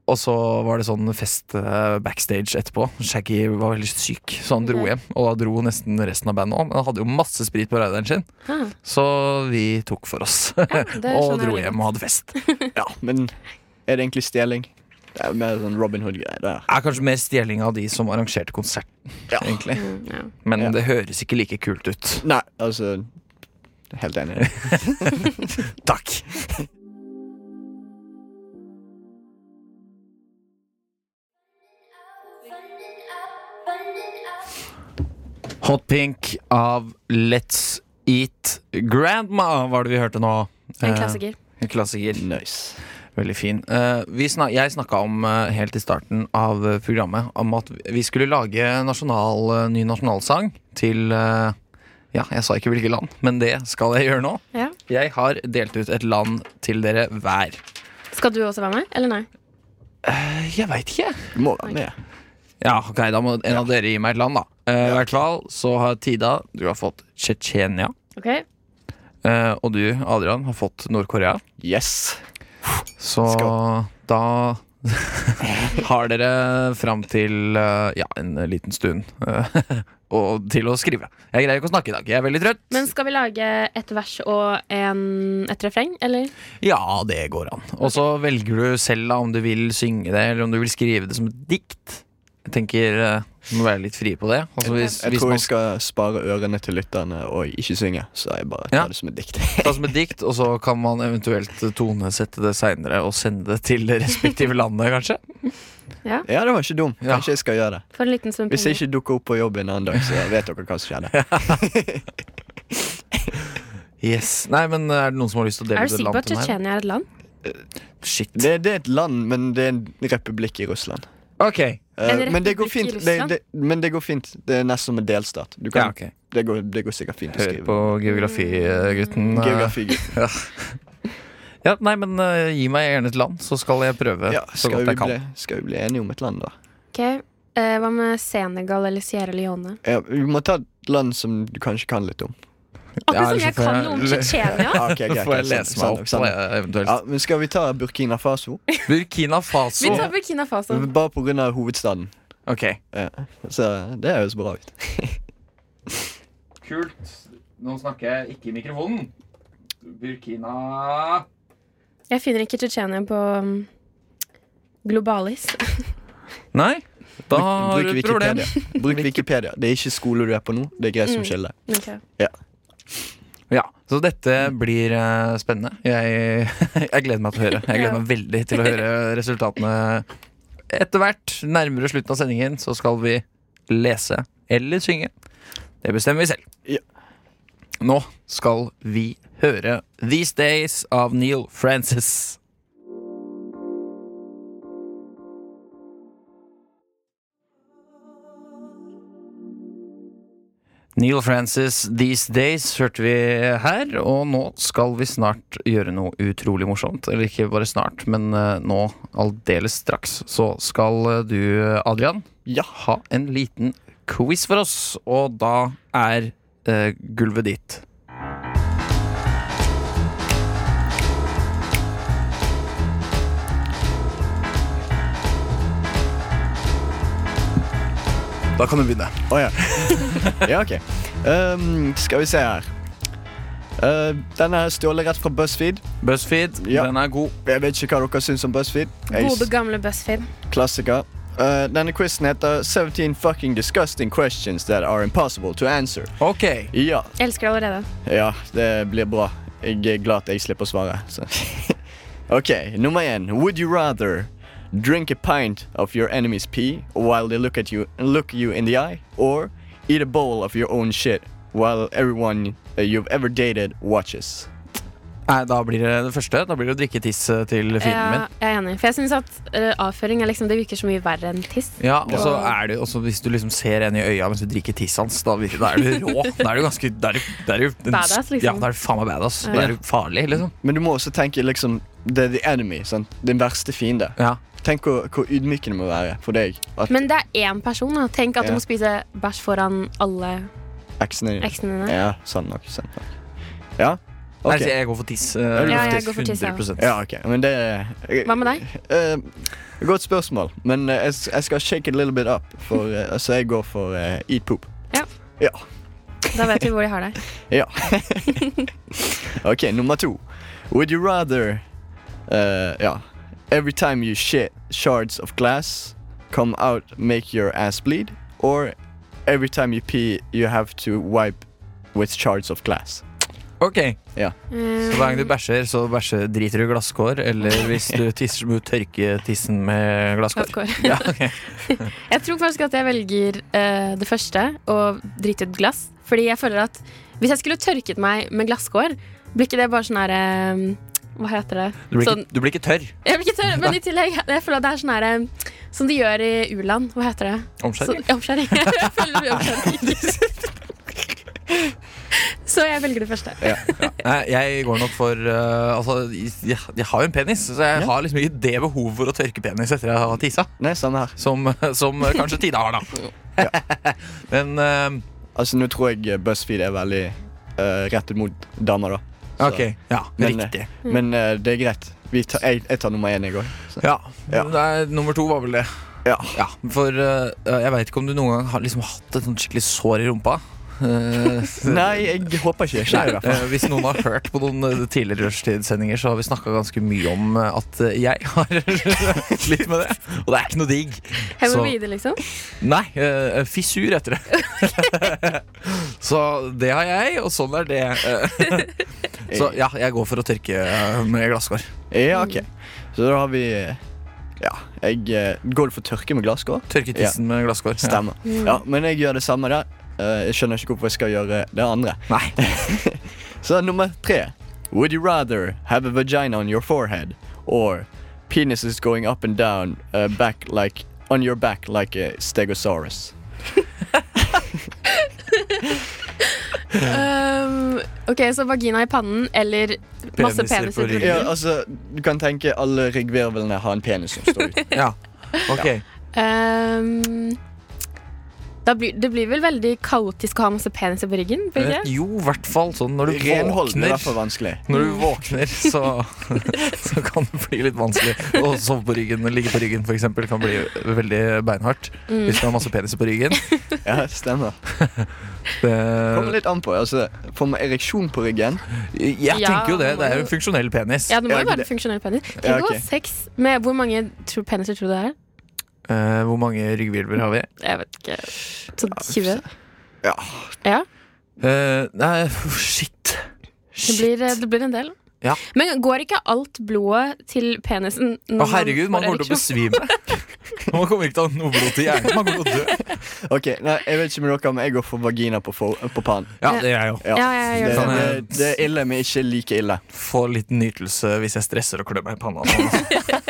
B: og så var det sånn fest eh, backstage etterpå. Shaggy var veldig syk, så han dro
C: Ok.
B: hjem. Og da dro nesten resten av bandet òg. Men han hadde jo masse sprit på rideren sin,
C: Ah,
B: så vi tok for oss.
C: det
B: og
C: skjønner
B: dro
C: jeg veldig
B: hjem og hadde fest.
A: Ja, men er det egentlig stjeling? Det er mer sånn Robin Hood-greie. det her.
B: er kanskje mer stjeling av de som arrangerte konserten,
A: Ja.
B: egentlig.
C: mm, ja.
B: Men
A: Ja.
B: det høres ikke like kult ut.
A: Nei, altså Helt enig.
B: Takk. Hot Pink av Let's Eat Grandma var det vi hørte nå.
C: En klassiker.
B: Eh, en klassiker.
A: Nice.
B: Veldig fin. Eh, vi snak, jeg snakka om eh, helt i starten av eh, programmet om at vi skulle lage nasjonal, eh, ny nasjonalsang til eh, Ja, jeg sa ikke hvilket land, men det skal jeg gjøre nå.
C: Ja.
B: Jeg har delt ut et land til dere hver.
C: Skal du også være med, eller nei?
B: Jeg veit ikke.
A: Må være med.
B: Ja, ok, Da må en av dere gi meg et land, da. Eh, I hvert fall så har Tida Du har fått Tsjetsjenia.
C: Ok,
B: eh, og du, Adrian, har fått Nord-Korea.
A: Yes.
B: Så da har dere fram til eh, ja, en liten stund eh, og til å skrive. Jeg greier ikke å snakke i dag. Jeg er veldig trøtt.
C: Men skal vi lage et vers og en, et refreng, eller?
B: Ja, det går an. Og så velger du selv da, om du vil synge det, eller om du vil skrive det som et dikt. Jeg tenker eh, Du må være litt fri på det. Altså, hvis,
A: Jeg
B: hvis
A: tror
B: man
A: vi skal spare ørene til lytterne og ikke synge, så jeg bare tar
B: Ja.
A: det som et dikt.
B: ta som et dikt, og så kan man eventuelt eh, tonesette det seinere og sende det til det respektive landet, kanskje.
A: Ja, det var ikke dum.
B: Ja.
A: Kanskje jeg skal gjøre det.
C: For en liten stund
A: Hvis jeg ikke dukker opp på jobb en annen dag, så vet dere hva som skjedde.
B: Yes. Nei, men eh, er det noen som har lyst til å dele
C: Er du
B: ut et
C: sikker
B: land
C: på at
B: til meg?
C: Tsjetsjenia er et land?
B: Shit.
A: Det, det er et land, men det er en republikk i Russland.
B: Ok.
A: Eh,
C: En
A: men det går
C: republikk i
A: fint. Det,
C: Russland?
A: det, men det går fint. Det er nesten som en delstat. Du
B: Ja,
A: kan,
B: ok.
A: det, går, det går sikkert fint å
B: Hør
A: skrive.
B: på eh, geografi-gutten.
A: Mm, Geografi.
B: Ja, nei, men eh, gi meg gjerne et land, så skal jeg prøve
A: Ja,
B: så
A: skal,
B: godt
A: vi
B: jeg kan.
A: bli, skal vi bli enige om et land, da?
C: Ok, eh, Hva med Senegal eller Sierra Leone?
A: Ja, vi må ta et land som du kanskje kan litt om.
B: Ja,
C: Akkurat
B: ellers så får
C: som sånn jeg kan
B: jeg-
C: noe om Tsjetsjenia!
A: Ja, ok, ok,
B: Så
A: ok,
B: får jeg
A: sant,
B: lese
A: sant,
B: meg opp
A: sant.
B: på det, eventuelt.
A: Ja, men skal vi ta Burkina Faso?
B: Burkina
C: Vi
B: Faso.
C: tar Burkina Faso.
A: Bare på grunn av hovedstaden.
B: Ok.
A: Ja. Så det høres bra ut.
B: Kult. Nå snakker jeg ikke i mikrofonen. Burkina
C: Jeg finner ikke Tsjetsjenia på um, Globalis.
B: Nei, da har
A: Bruk
B: du et problem. Mm.
A: Wikipedia. Bruk Wikipedia. Det er ikke skole du er på nå, det er greit som skiller.
C: Ok.
B: Ja, Så dette blir eh, spennende. Jeg, jeg gleder meg til å høre. Jeg gleder
C: Ja.
B: meg veldig til å høre resultatene etter hvert. Nærmere slutten av sendingen så skal vi lese eller synge. Det bestemmer vi selv.
A: Ja.
B: Nå skal vi høre These Days av Neil Francis. Neil Francis These Days hørte vi her, og nå skal vi snart gjøre noe utrolig morsomt. Eller ikke bare snart, men eh, nå, aldeles straks, så skal eh, du, Adrian,
A: Ja.
B: ha en liten quiz for oss. Og da er eh, gulvet ditt. Da kan du begynne.
A: Å ja. ja, ok. Ehm, skal vi se her. Eh, denne er stjålet rett fra BuzzFeed.
B: BuzzFeed,
A: Ja.
B: den er god.
A: Jeg vet ikke hva dere syns om BuzzFeed. Jeg-
C: Gode, gamle BuzzFeed.
A: Klassiker. Eh, denne quizen heter 17 fucking disgusting questions that are impossible to answer.
B: Ok,
A: Ja,
C: Elsker det allerede.
A: ja, det blir bra. Jeg er glad at jeg slipper å svare. Så. ok, nummer én. Would you rather drink a pint of your enemy's pee while they look at you look you in the eye, or eat a bowl of your own shit while everyone uh, you've ever dated watches?
B: Nei, Da blir det det første. Da blir det å drikke tiss eh, til fienden
C: Ja,
B: min.
C: jeg er enig. For jeg syns at eh, avføring er liksom, det virker så mye verre enn tiss.
B: Ja, og så er det jo også Hvis du liksom ser en i øya mens du drikker tiss hans, da, vir- da er du rå. Da er du ganske da er du, da er du en,
C: Badass, liksom.
B: Ja, da er du faen meg badass. Da er du farlig, liksom.
A: Men du må også tenke liksom det er the enemy, sant? din verste fiende.
B: Ja.
A: Tenk hvor, hvor ydmykende det må være for deg at
C: Men det er én person. da Tenk at
A: Ja.
C: du må spise bæsj foran alle
A: eksene dine
C: eksene dine.
A: Ja, sant nok. Sant nok. Ja?
B: Nei,
A: Ok.
B: så jeg går for tiss. eh,
A: Ja,
C: jeg går for tiss, ja.
B: 100%.
A: Ja, ok. Men det
C: Hva med deg?
A: Eh, godt spørsmål, men eh, jeg, s- jeg skal shake it a little bit up, for, eh, så jeg går for eh, eat poop.
C: Ja.
A: Ja.
C: Da vet vi hvor de har deg.
A: ja. ok, nummer to. Would you rather eh, Ja. Every time you shit, shards of glass come out, make your ass bleed, or every time you pee, you have to wipe with shards of glass.
B: Ok,
A: Ja.
C: Mm.
B: Så hver gang du bæsjer, så bæsjer driter du i glasskår. Eller hvis du tisser, så må du tørke tissen med glasskår.
C: Glasskår.
B: Ja, ok.
C: Eh, Jeg tror faktisk at jeg velger eh, det første, å drite ut glass. Fordi jeg føler at hvis jeg skulle tørket meg med glasskår, blir ikke det bare sånn her eh, Hva heter det?
B: Du blir,
C: Sånn,
B: ikke, du blir ikke tørr.
C: jeg blir ikke tørr, men i tillegg Jeg føler at det er sånn her eh, Som de gjør i u-land. Hva heter det?
B: Omskjæring?
C: Så- Omskjæring. Jeg føler det blir omskjæring. Så jeg velger det første.
B: Nei, jeg går nok for eh, Altså, jeg, jeg har jo en penis, så jeg
A: Ja.
B: har liksom ikke det behovet for å tørke penis etter jeg har tissa,
A: Nei, samme her.
B: som, som kanskje Tida har, da. Men eh,
A: Altså, nå tror jeg BuzzFeed er veldig eh, rettet mot damer, da. Så-
B: OK. Ja,
A: Men, eh,
B: riktig.
A: Men eh, det er greit. Vi tar, jeg, jeg tar nummer én, jeg òg.
B: Ja.
A: Ja.
B: Nei, nummer to var vel det.
A: Ja.
B: Ja, for eh, jeg veit ikke om du noen gang har liksom hatt et sånt skikkelig sår i rumpa. Eh,
A: Nei, jeg håper ikke. Ikke
B: Nei,
A: i hvert fall.
B: eh, hvis noen har hørt på noen eh, tidligere rushtidsendinger, så har vi snakka ganske mye om eh, at eh, jeg har slitt med det. Og det er ikke noe digg.
C: Hemoroider, liksom.
B: Nei, eh, fissur heter det. så det har jeg, og sånn er det. Eh, så ja, jeg går for å tørke eh, med glasskår.
A: Ja, ok. Så da har vi eh, Ja, jeg eh, går for tørke med glasskår.
B: Tørke tissen med glasskår. Ja.
A: Stemmer. Ja, men jeg gjør det samme der. Eh, jeg skjønner ikke hvorfor jeg skal gjøre det andre.
B: Nei.
A: Så nummer tre. Would you rather have a vagina on your forehead or penis is going up and down uh, back like on your back like a stegosaurus?
C: Um, ok, så vagina i pannen eller masse
B: Peniser på
C: peniser på
B: ryggen.
C: ryggen.
A: Ja, altså, du kan tenke alle ryggvirvlene har en penis som står ut.
B: Ja. Ok.
C: Um, da blir, det blir vel veldig kaotisk å ha masse peniser på ryggen? Blir det?
B: Eh, Jo, i hvert fall sånn når du
A: Renhold er
B: våkner.
A: derfor vanskelig.
B: Når du våkner, så, så kan det bli litt vanskelig å sove på ryggen. Ligge på ryggen for eksempel, kan bli veldig beinhardt
C: Mm.
B: hvis du har masse peniser på ryggen.
A: Ja, stemmer. Kommer
B: Det,
A: litt an på. altså, Får man ereksjon på ryggen?
B: jeg
C: Ja,
B: tenker jo det. Det
C: man må
B: er jo
C: jo-
B: en funksjonell penis.
C: Ja, det må
A: Ja,
C: jo være
A: det-
C: en funksjonell penis. Tenk
A: Ja,
C: å
A: ok.
C: ha sex med Hvor mange tro, peniser tror du det er?
B: Eh, hvor mange rygghvirvler har vi?
C: Jeg vet ikke. Sånn 20?
A: Ja.
C: Ja,
B: Eh, nei, shit.
C: det
B: Shit.
C: blir, eh, det blir en del.
B: Ja.
C: Men går ikke alt blodet til penisen?
B: Å,
C: når
B: herregud, man
C: får
B: kommer til å
C: ereksjon?
B: besvime. Man kommer ikke til å ha noe blod til hjernen. Man kommer til å dø.
A: Ok, nei, Jeg vet ikke med dere, men jeg går for vagina på, for, på pannen.
B: Ja, det gjør jeg jo.
A: Ja.
C: Ja, jeg
A: Det,
C: gjør det.
B: Sånn, ja.
A: det, det er ille, men ikke like ille.
B: Få litt nytelse hvis jeg stresser og klør meg i panna.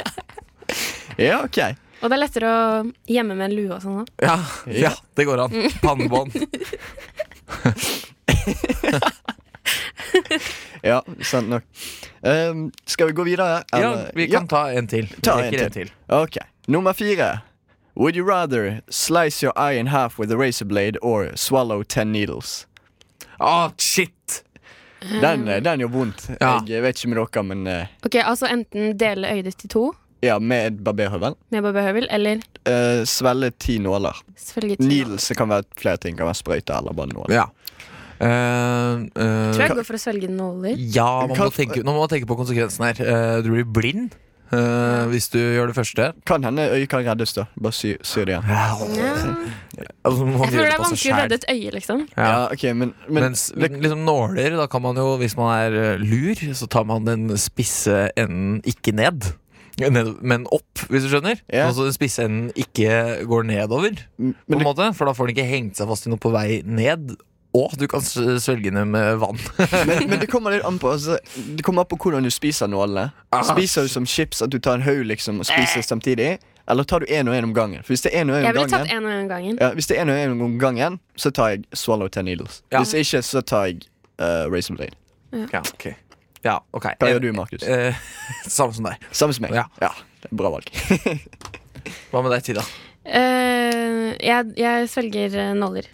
A: Ja, ok.
C: Og det er lettere å gjemme med en lue og sånn. da.
B: Ja, ja det går an.
C: Mm.
B: Pannebånd.
A: Ja, sant nok. Ehm, skal vi gå videre?
B: Ja,
A: eller?
B: vi kan ta en til. Vi
A: Ta en
B: trekker
A: til. Ok, nummer fire Would you rather slice your eye in half with a razor blade Or swallow ten needles
B: Ah, shit!
C: Mm.
A: Den, eh, den gjør vondt
B: Ja.
A: Jeg vet ikke med dere, men eh,
C: Ok, Altså enten dele øyet ditt i to
A: Ja, med et barberhøvel
C: med barberhøvel, eller
A: Eh, Svelle ti nåler
C: selvfølgelig til-
A: Needles kan være flere ting Kan være sprøyte eller bare nåler
B: Ja. Eh, eh,
C: Tror jeg går for å svelge nåler.
B: ja, man må,
A: Kan-
B: tenke, nå må man tenke på konsekvensen her. Eh, du blir blind eh, hvis du gjør det første.
A: Kan hende øyet kan reddes da Bare sy, sy det igjen
C: Ja.
B: Altså, man
C: Jeg
B: gjør
C: føler det er
B: på seg
C: vanskelig å
B: selv.
C: redde et øye, liksom.
A: Ja,
B: Ja.
A: ok, men, men
B: Mens
A: det,
B: liksom nåler, da kan man jo, hvis man er eh, lur, så tar man den spisse enden ikke ned. Ned, men opp, hvis du skjønner.
A: Ja.
B: Altså den spisse enden ikke går nedover,
A: men
B: på en
A: det,
B: måte. For da får den ikke hengt seg fast i noe på vei ned. Og du kan s- svelge den med vann.
A: men, men det kommer litt an på altså, Det kommer an på hvordan du spiser nålene Spiser du som chips at du tar en haug liksom Og spiser samtidig Eller tar du en og en om gangen For hvis det er en og en om
C: Eh. Jeg
A: gangen
C: ville tatt en og en gangen.
A: Ja, hvis det er noe om gangen, så tar jeg swallow ten needles.
B: Ja.
A: Hvis ikke, så tar jeg uh, razor blade.
B: Ja, ok. Ja, ok.
A: Hva gjør du, Markus?
B: Eh, samme som deg.
A: Samme som meg.
B: ja.
A: det er Bra valg.
B: Hva med deg, Tida?
C: Eh, jeg, jeg svelger eh, nåler.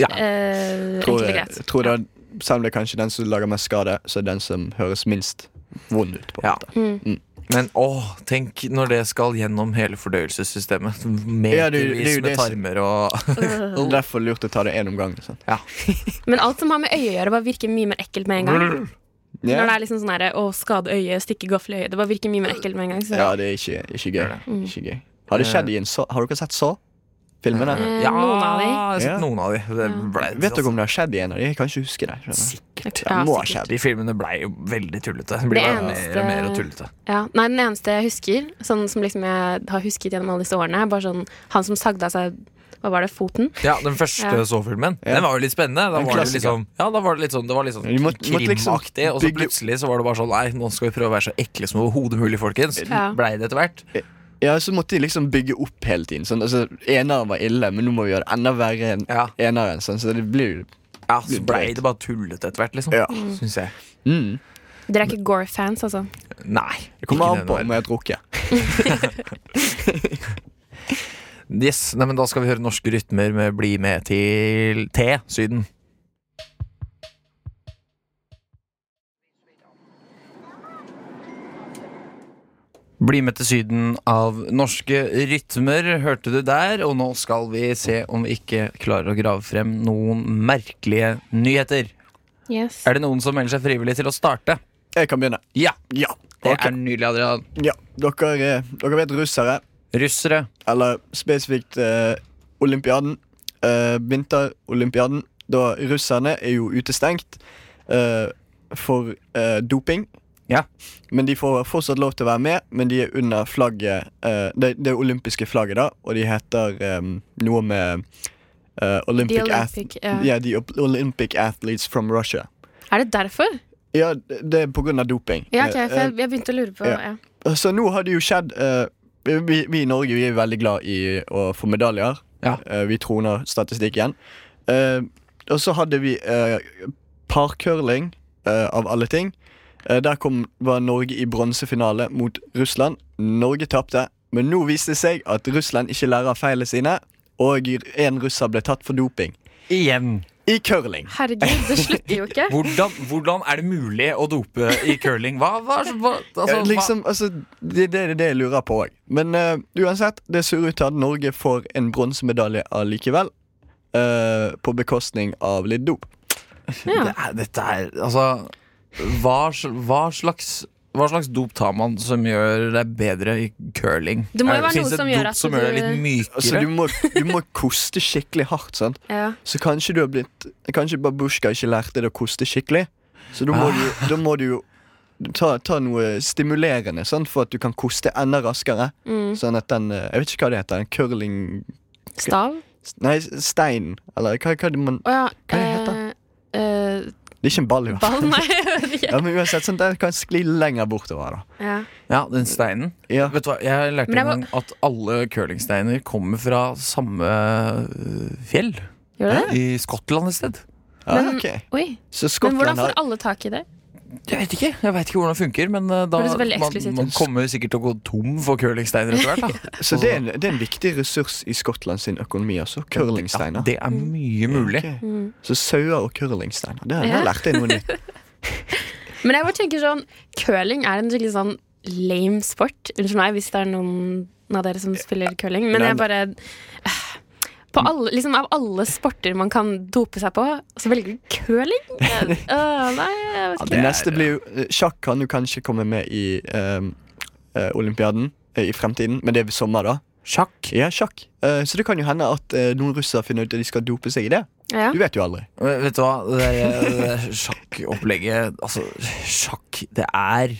B: Ja.
C: Eh,
A: Tror,
C: enkelt og greit.
A: tror det, er- selv om det er kanskje den som lager mest skade, så er den som høres minst vond ut. på en
B: Ja.
A: måte.
B: Men åh, tenk når det skal gjennom hele fordøyelsessystemet. Metervis
A: Ja, det er jo- det er jo
B: med
A: det som-
B: tarmer og
A: Det er Derfor lurt å ta det én om gangen. sant?
B: ja.
C: Mm. Men alt som har med øyet å gjøre, bare virker mye mer ekkelt med en gang.
A: Ja.
C: Når det er liksom sånn her, å skade øyet, stikke gaffel i øyet, det bare virker mye mer ekkelt med en gang. Så.
A: ja, det Mm. Eh. er ikke, ikke gøy. Ikke gøy. Har det skjedd i en så Har dere sett så? Filmene?
C: Eh,
B: ja,
C: noen av de.
B: Jeg har
A: Ja.
B: sett noen av de. Det altså. ble,
A: Vet dere om det har skjedd i en av de? Jeg kan ikke huske det. skjønner du.
B: Sikkert.
A: Det må ha
C: sikkert.
A: skjedd.
B: De filmene blei jo veldig tullete. Det blir
C: Det
B: bare mer
C: eneste-
B: og mer og tullete.
C: Ja. Nei, den eneste jeg husker, sånn som liksom jeg har husket gjennom alle disse årene, er bare sånn han som sagde av seg Hva var det? Foten?
B: Ja, Den første
C: Ja.
B: Saw-filmen.
A: Ja.
B: Den var jo litt spennende. Da
A: En
B: var det,
A: klassiker.
B: liksom, ja, da var det litt sånn, det var litt sånn
A: Vi måtte- måtte liksom
B: krimaktig, og så
A: bygge-
B: plutselig så var det bare sånn Nei, nå skal vi prøve å være så ekle som overhodet mulig, folkens.
C: Ja.
B: Blei det etter hvert.
A: Ja, så måtte de liksom bygge opp hele tiden. Sånn, altså, eneren var ille, men nå må vi gjøre det enda verre enn
B: Ja.
A: eneren. Sånn, så det blir
B: Ja, så blei det bare tullete etter hvert, liksom.
A: Ja.
B: Syns jeg.
A: mm.
C: Dere er ikke Gore-fans, altså?
B: Nei.
A: Det kommer
B: ikke
A: an på om
B: den
A: jeg har drukket.
B: verden. Yes, nei, men Da skal vi høre norske rytmer med Bli med til T, Syden. Bli med til Syden av norske rytmer, hørte du der. Og nå skal vi se om vi ikke klarer å grave frem noen merkelige nyheter.
C: Yes.
B: Er det noen som melder seg frivillig til å starte?
A: Jeg kan begynne.
B: Ja!
A: Ja.
B: Det
A: ok.
B: er nydelig, Adrian.
A: ja. Dere, eh, dere vet russere,
B: Russere.
A: eller spesifikt eh, olympiaden. Eh, vinterolympiaden. Da russerne er jo utestengt eh, for eh, doping.
B: Ja.
A: Men de får fortsatt lov til å være med, men de er under flagget eh, det, det olympiske flagget, da, og de heter em, noe med eh, Olympic,
C: The
A: Ath-
C: Olympic, ja.
A: Ja, The Op- Olympic Athletes from Russia.
C: Er det derfor?
A: Ja, det det er på grunn av doping.
C: Ja, ok, for
A: Eh,
C: jeg, jeg begynte å lure på
A: ja.
C: ja.
A: eh, så nå har det jo skjedd eh, vi, vi i Norge vi er veldig glad i å få medaljer.
B: Ja.
A: Eh, vi troner statistikk igjen. Eh, og så hadde vi eh, parcurling, eh, av alle ting. Eh, der kom, var Norge i bronsefinale mot Russland. Norge tapte, men nå viste det seg at Russland ikke lærer av feilene sine, og en russer ble tatt for doping.
B: Igjen.
A: I curling.
C: Herregud, det slutter jo ikke.
B: Hvordan, hvordan er det mulig å dope i curling? Hva, hva, hva, altså,
A: Ja, liksom, altså, det er det, det, er det jeg lurer på òg. Men eh, uansett, det ser ut til at Norge får en bronsemedalje allikevel. eh, på bekostning av litt dop.
B: hva, det er, dette er Altså hva, sl- hva slags hva slags dop tar man som gjør deg bedre i curling?
C: Det må jo
B: Er-
C: være
B: finnes
C: noe som
B: et
C: gjør
B: dop
C: at
B: som gjør deg
C: du-
B: litt mykere?
A: Altså, du, må, du må koste skikkelig hardt. Sant?
C: Ja.
A: Så kanskje du har blitt Kanskje Babushka ikke lærte det å koste skikkelig. Så da må du,
B: Ah.
A: da må du jo ta, ta noe stimulerende, sant? for at du kan koste enda raskere.
B: Mm.
A: Sånn at den eh, Jeg vet ikke hva det heter. Den curling
C: Stav?
A: Nei, steinen. Eller hva, hva er det man
C: Å ja.
A: Hva er det
C: eh, eh,
A: Det er ikke en ball, i hvert fall.
C: ball, nei, jeg vet ikke.
A: Ja, men uansett, sånn, den kan skli lenger bortover, da.
C: Ja.
B: Ja, den steinen.
A: Ja.
B: Vet du hva, Jeg lærte
C: Men jeg
B: en gang at alle curlingsteiner kommer fra samme øh, fjell.
C: Gjør det det?
B: I Skottland et sted.
A: Ja,
C: Men-
A: ok.
C: Oi.
A: Så
C: Men
A: Skottland
C: hvordan
A: har
C: får alle tak i det?
B: Jeg vet ikke jeg vet ikke hvordan det funker, men øh, da
C: Høres veldig
B: man,
C: eksklusivt ut.
B: man kommer sikkert til å gå tom for curlingsteiner etter hvert. da.
A: Så det er, en, det er en viktig ressurs i Skottland sin økonomi også. Curlingsteiner. Mm,
B: Ja, det er mye mulig.
A: Ok. Så sauer og curlingsteiner. Det har jeg
C: Mm. Ja.
A: lært deg noe nytt.
C: Men jeg bare tenker sånn Curling er en skikkelig sånn lame sport. Unnskyld meg hvis det er noen av dere som spiller curling, men
A: Nei,
C: jeg bare på alle, liksom Av alle sporter man kan dope seg på, så velger du curling? Øh, nei, jeg vet
A: Det
C: ikke.
A: neste blir jo eh, Sjakk kan jo kanskje komme med i ehm, eh, olympiaden eh, i fremtiden, men det er ved sommer, da.
B: Sjakk.
A: Ja, sjakk. Eh, så det kan jo hende at eh, noen russere finner ut at de skal dope seg i det.
C: Ja.
A: Du vet jo aldri.
B: Men Vet du hva, det der, det der sjakkopplegget Altså, sjakk, det er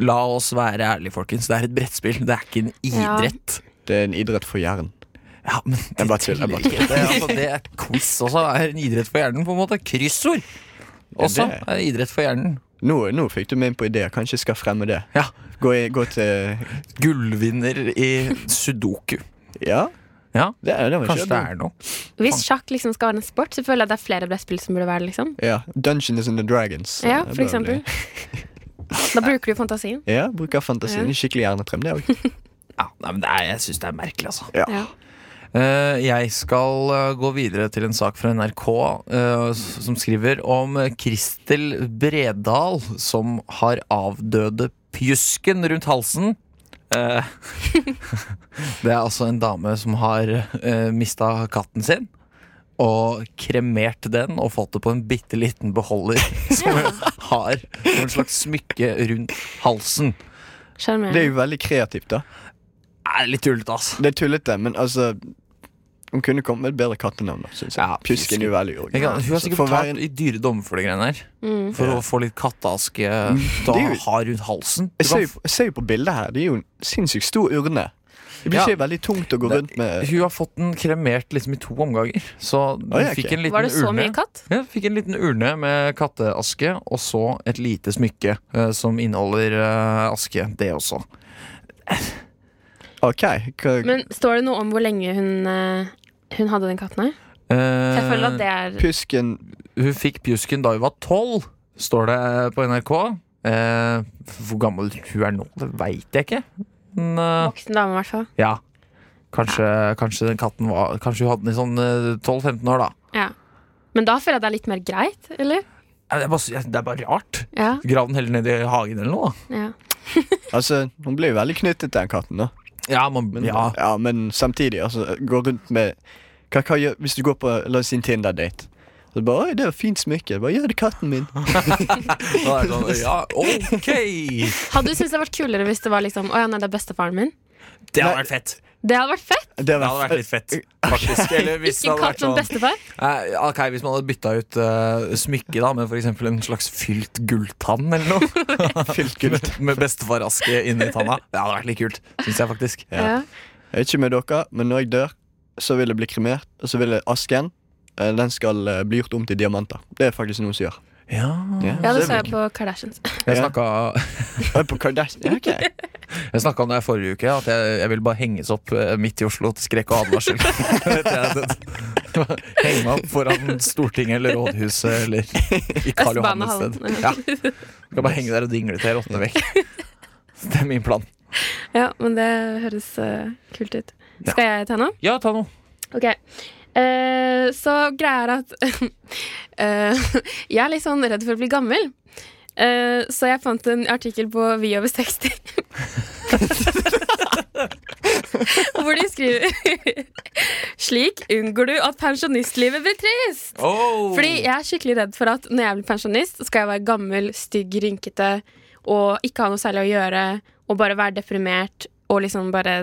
B: La oss være ærlige, folkens. Det er et brettspill, det er ikke en idrett.
A: Det er en idrett for hjernen.
B: Ja, men det
A: Jeg bare tuller, jeg bare
B: teller ikke. Det, er- altså, det er quiz også. Det er en idrett for hjernen, på en måte. Kryssord også
A: det-
B: er idrett for hjernen.
A: Nå, nå fikk du meg inn på ideer. Kanskje jeg skal fremme det.
B: Ja.
A: Gå, i, gå til
B: Gullvinner i sudoku.
A: Ja,
B: Ja,
A: det, er- det var
B: kanskje
A: ikke
B: det er noe.
C: Hvis sjakk liksom skal være en sport, så føler jeg det er flere brettspill som burde være det. Liksom.
A: Ja, Dungeons and the Dragons.
C: Ja,
A: Det
C: for
A: bør
C: eksempel.
A: bli-
C: Da bruker du fantasien.
A: Ja, Bruker fantasien.
C: Ja.
A: Skikkelig hjernetrem, det òg.
B: Ja, nei, men det er, jeg syns det er merkelig, altså.
C: Ja.
B: Eh, jeg skal eh, gå videre til en sak fra NRK eh, s- som skriver om eh, Kristel Bredal som har avdøde pjusken rundt halsen. Eh, det er altså en dame som har uh, mista katten sin. Og kremert den og fått det på en bitte liten beholder som hun har som en slags smykke rundt halsen.
A: Det er
C: Sjarmerende.
A: jo veldig kreativt, da.
B: Det er litt tullete, altså.
A: Det er tullete, men altså Hun kunne kommet med et bedre kattenavn, da, syns jeg.
B: Ja,
A: Pjusken er jo veldig
B: Jeg kan,
A: original.
B: hun har
A: Så
B: sikkert
A: for å være
B: betalt
A: en-
B: i dyre dommer for de greiene her.
C: Mm.
B: For
A: Ja. Mm.
B: å få litt katteaske da
A: det er jo-
B: har rundt halsen. Du
A: Jeg ser
B: kan,
A: jo- jeg ser jo på bildet her. Det er jo en sinnssykt stor urne. Det blir
B: Ja.
A: ikke veldig tungt å gå rundt med
B: Hun har fått den kremert liksom i to omganger. Så hun
A: Oi, ok.
B: fikk en liten
C: Var det så
B: urne.
C: mye katt?
B: Ja, fikk en liten urne med katteaske, og så et lite smykke eh, som inneholder eh, aske, det også.
A: OK. hva-
C: Men står det noe om hvor lenge hun, eh, hun hadde den katten her?
B: Eh,
C: For jeg føler at det er
A: Pysken
B: Hun fikk pjusken da hun var tolv, står det på NRK. Eh, hvor gammel hun er nå, det veit jeg ikke. Men eh,
C: voksen dame, i hvert fall.
B: ja. Kanskje, kanskje den katten var Kanskje hun hadde den i sånn eh, 12-15 år, da.
C: Ja. Men da føler jeg det er litt mer greit, eller?
B: Ja, Det er bare, det er bare rart.
C: Ja.
B: Grav den heller ned i hagen eller noe. da.
C: ja.
A: Altså, hun blir jo veldig knyttet til den katten, da.
B: Ja, man,
A: Men,
B: ja.
A: men samtidig, altså, gå rundt med hva, hva gjør Hvis du går på la oss si en Tinder-date Så bare, Oi, det var fint smykke. Bare, ja, det er katten min.
B: Da er det sånn, ja ok!
C: Hadde du syntes det hadde vært kulere hvis det var liksom Å ja, nei, det er bestefaren min?
B: Det hadde vært fett.
C: Det hadde vært fett!
A: Det
B: Det hadde vært litt fett, faktisk. Eller hvis det
C: Ikke
B: hadde vært
C: katt, men
B: sånn
C: bestefar.
B: Nei, ok, Hvis man hadde bytta ut eh, smykke da med for eksempel en slags fylt gulltann eller noe,
A: Fylt gull.
B: med, med bestefaraske inni tanna, det hadde vært litt kult. Synes jeg faktisk
A: Ja.
C: Ja.
A: Jeg vet ikke med dere, men når jeg dør, så vil jeg bli kremert, og så vil jeg asken eh, den skal eh, bli gjort om til diamanter. Det er faktisk noe som gjør.
B: Ja,
C: ja, det
A: Så
C: så
A: er
C: jeg på Kardashians.
B: Jeg snakka
A: Oi, På Kardashian. Ja, ok.
B: jeg snakket om det her forrige uke, at jeg, jeg ville bare henges opp eh, midt i Oslo til skrekk og advarsel. Henge meg opp foran Stortinget eller Rådhuset eller i Karl Johan et sted. Ja.
C: Østbanehallen.
B: Skal bare henge der og dingle til jeg råtner vekk. Det er min plan.
C: Ja, men det høres eh, kult ut. Skal jeg ta noe?
B: Ja, ta noe.
C: Ok. Eh, så greia er at eh, Jeg er litt sånn redd for å bli gammel. Eh, så jeg fant en artikkel på Vi over 60. Hvor de skriver Slik unngår du at pensjonistlivet blir trist.
B: Oh.
C: Fordi jeg er skikkelig redd for at når jeg blir pensjonist, skal jeg være gammel, stygg, rynkete og ikke ha noe særlig å gjøre og bare være deprimert og liksom bare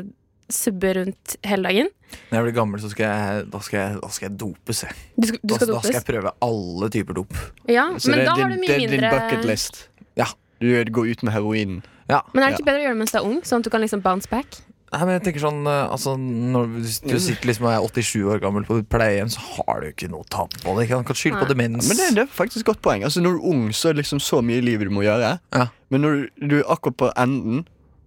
C: subbe rundt hele dagen.
B: Når jeg blir gammel, så skal jeg, da, skal jeg, da skal jeg dopes. Jeg.
C: Du, sk- du
B: Altså, Da,
C: skal
B: da skal
C: dopes.
B: jeg prøve alle typer dop.
C: Ja,
A: Så
C: men
A: det er
C: da
A: din,
C: har du
A: det
C: mye
A: er din bucket
C: mindre
A: list.
B: Ja.
A: Du går ut med heroinen.
B: Ja.
C: Men er det ikke bedre å gjøre det mens du er ung, sånn at du kan liksom bounce back?
B: Nei, men jeg tenker sånn eh, altså, Når du sitter liksom og er 87 år gammel på et pleiehjem, så har du ikke noe å tape på det. Ikke? Du kan skylde på
C: Nei.
B: demens.
A: Men det, det er faktisk et godt poeng. Altså Når du er ung, så er det liksom så mye i livet du må gjøre.
B: Ja.
A: Men når du, du er akkurat på enden,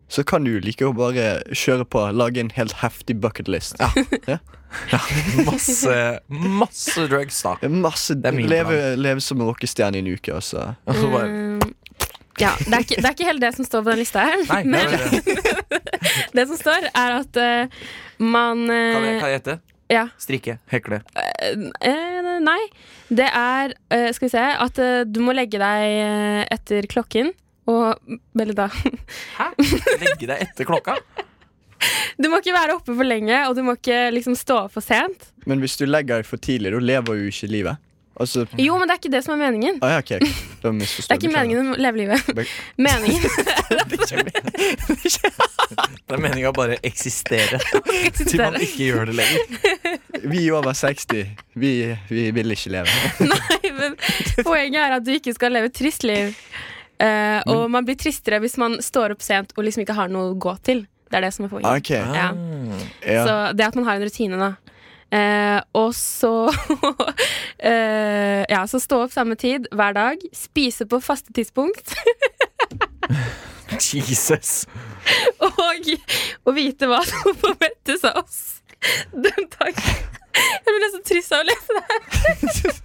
A: så kan du jo like å bare kjøre på. Lage en helt heftig bucketlist. Ja.
B: Masse, masse drugs, da.
A: Masse
B: er min
A: leve, leve som en rockestjerne i en uke, altså.
B: Og så bare
C: Mm, ja, det er, ikke, det er ikke helt det som står på den lista her.
B: Nei,
C: Mm. men
B: det er det.
C: det som står, er at eh, man eh,
B: Kan, jeg, kan jeg gjette?
C: Ja.
B: Strikke. Hekle.
C: Eh, nei. Det er eh, Skal vi se At eh, du må legge deg eh, etter klokken. Og Eller da
B: Hæ? Legge deg etter klokka?
C: Du må ikke være oppe for lenge, og du må ikke liksom stå opp for sent.
A: Men hvis du legger deg for tidlig, da lever jo ikke livet. Altså
C: Jo, men det er ikke det som er meningen.
A: ah, ja, ok, da
C: Det
A: misforstår
C: er ikke meningen å leve livet.
A: Beklager.
C: Meningen
B: Det er meninga å bare eksistere. Til man ikke gjør det lenger.
A: Vi over 60, vi, vi vil ikke leve.
C: Nei, men poenget er at du ikke skal leve et trist liv. Eh, og man blir tristere hvis man står opp sent og liksom ikke har noe å gå til. Det er det som er poenget.
A: Ah, Ok, ja.
C: Ja.
B: Ah,
C: Så det at man har en rutine, da. Eh, og så eh, Ja, så stå opp samme tid hver dag. Spise på faste tidspunkt.
B: Jesus.
C: Og, og vite hva som forventes av oss den dagen. Jeg blir nesten trist av å lese det.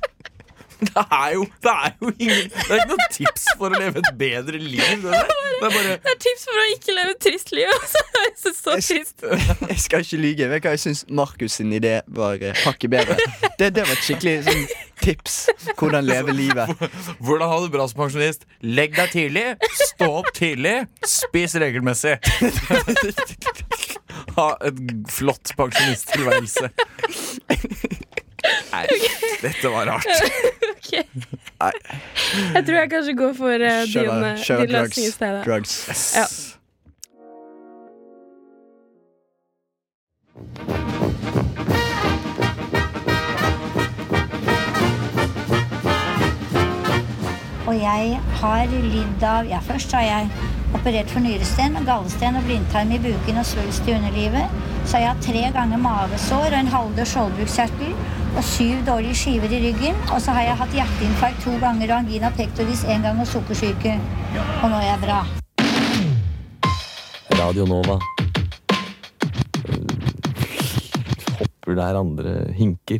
B: Det er jo, det er jo ingen Det er ikke noe tips for å leve et bedre liv. Det, der. det er bare
C: Det er tips for å ikke leve et trist liv. Og så høres det så trist
A: Jeg skal ikke lyge. Vet du hva jeg syns Markus sin idé var eh, hakket bedre? Det, det var et skikkelig sånn, tips. Hvordan leve livet.
B: Hvordan ha det bra som pensjonist? Legg deg tidlig, stå opp tidlig, spis regelmessig. Ha et flott pensjonisttilværelse. Nei, dette var rart.
C: Ok Jeg tror jeg kanskje går for eh, din, eh,
A: Kjøre
C: din
A: drugs.
C: løsning i stedet.
A: drugs.
C: Ja.
E: Og jeg har lidd av Ja, først har jeg Operert for nyresten, gallesten og blindtarm i buken og svulst i underlivet. Så har jeg hatt tre ganger mavesår og en halvdød skjoldbruskkjertel og syv dårlige skiver i ryggen. Og så har jeg hatt hjerteinfarkt to ganger og angina pectoris én gang og sukkersyke. Og nå er jeg bra.
F: Radio Nova. Eh, Hopper der andre hinker.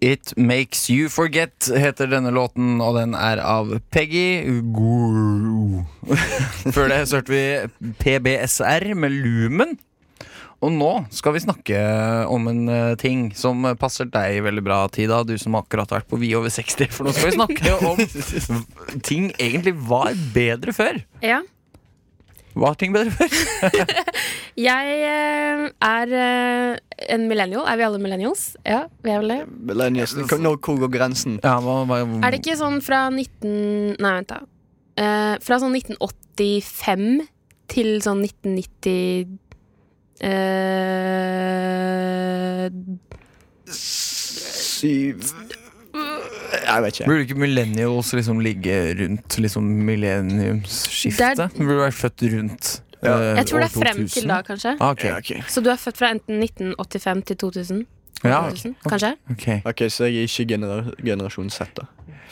B: It Makes You Forget heter denne låten, og den er av Peggy Guru. Før det så hørte vi PBSR med Lumen. Og nå skal vi snakke om en eh, ting som passer deg veldig bra, Tida. Du som akkurat har vært på Vi over 60. For nå skal vi snakke om ting egentlig var bedre før.
C: Ja.
B: Var ting bedre før?
C: Jeg eh, er eh, en millennial. Er vi alle millennials? Ja, vi er vel det.
A: Millennials, hva- nå, hvor går grensen?
B: Ja, hva, hva,
C: Er det ikke sånn fra 19... Nei, vent da. Eh, fra sånn 1985 til sånn 1990... eh,
A: Syv Jeg vet ikke.
B: Burde ikke millennials liksom ligge rundt liksom millenniumsskiftet?
C: Det er-
B: Burde vært født rundt
A: Ja.
B: eh,
C: jeg tror det
B: år
C: er frem
B: 2000.
C: til da, kanskje.
B: Ah, ok.
A: Ja, ok.
C: Så du er født fra enten 1985 til 2000?
B: Ja,
C: 2000 Kanskje?
B: ok.
A: Ok, Så jeg er ikke genera generasjon Z, da.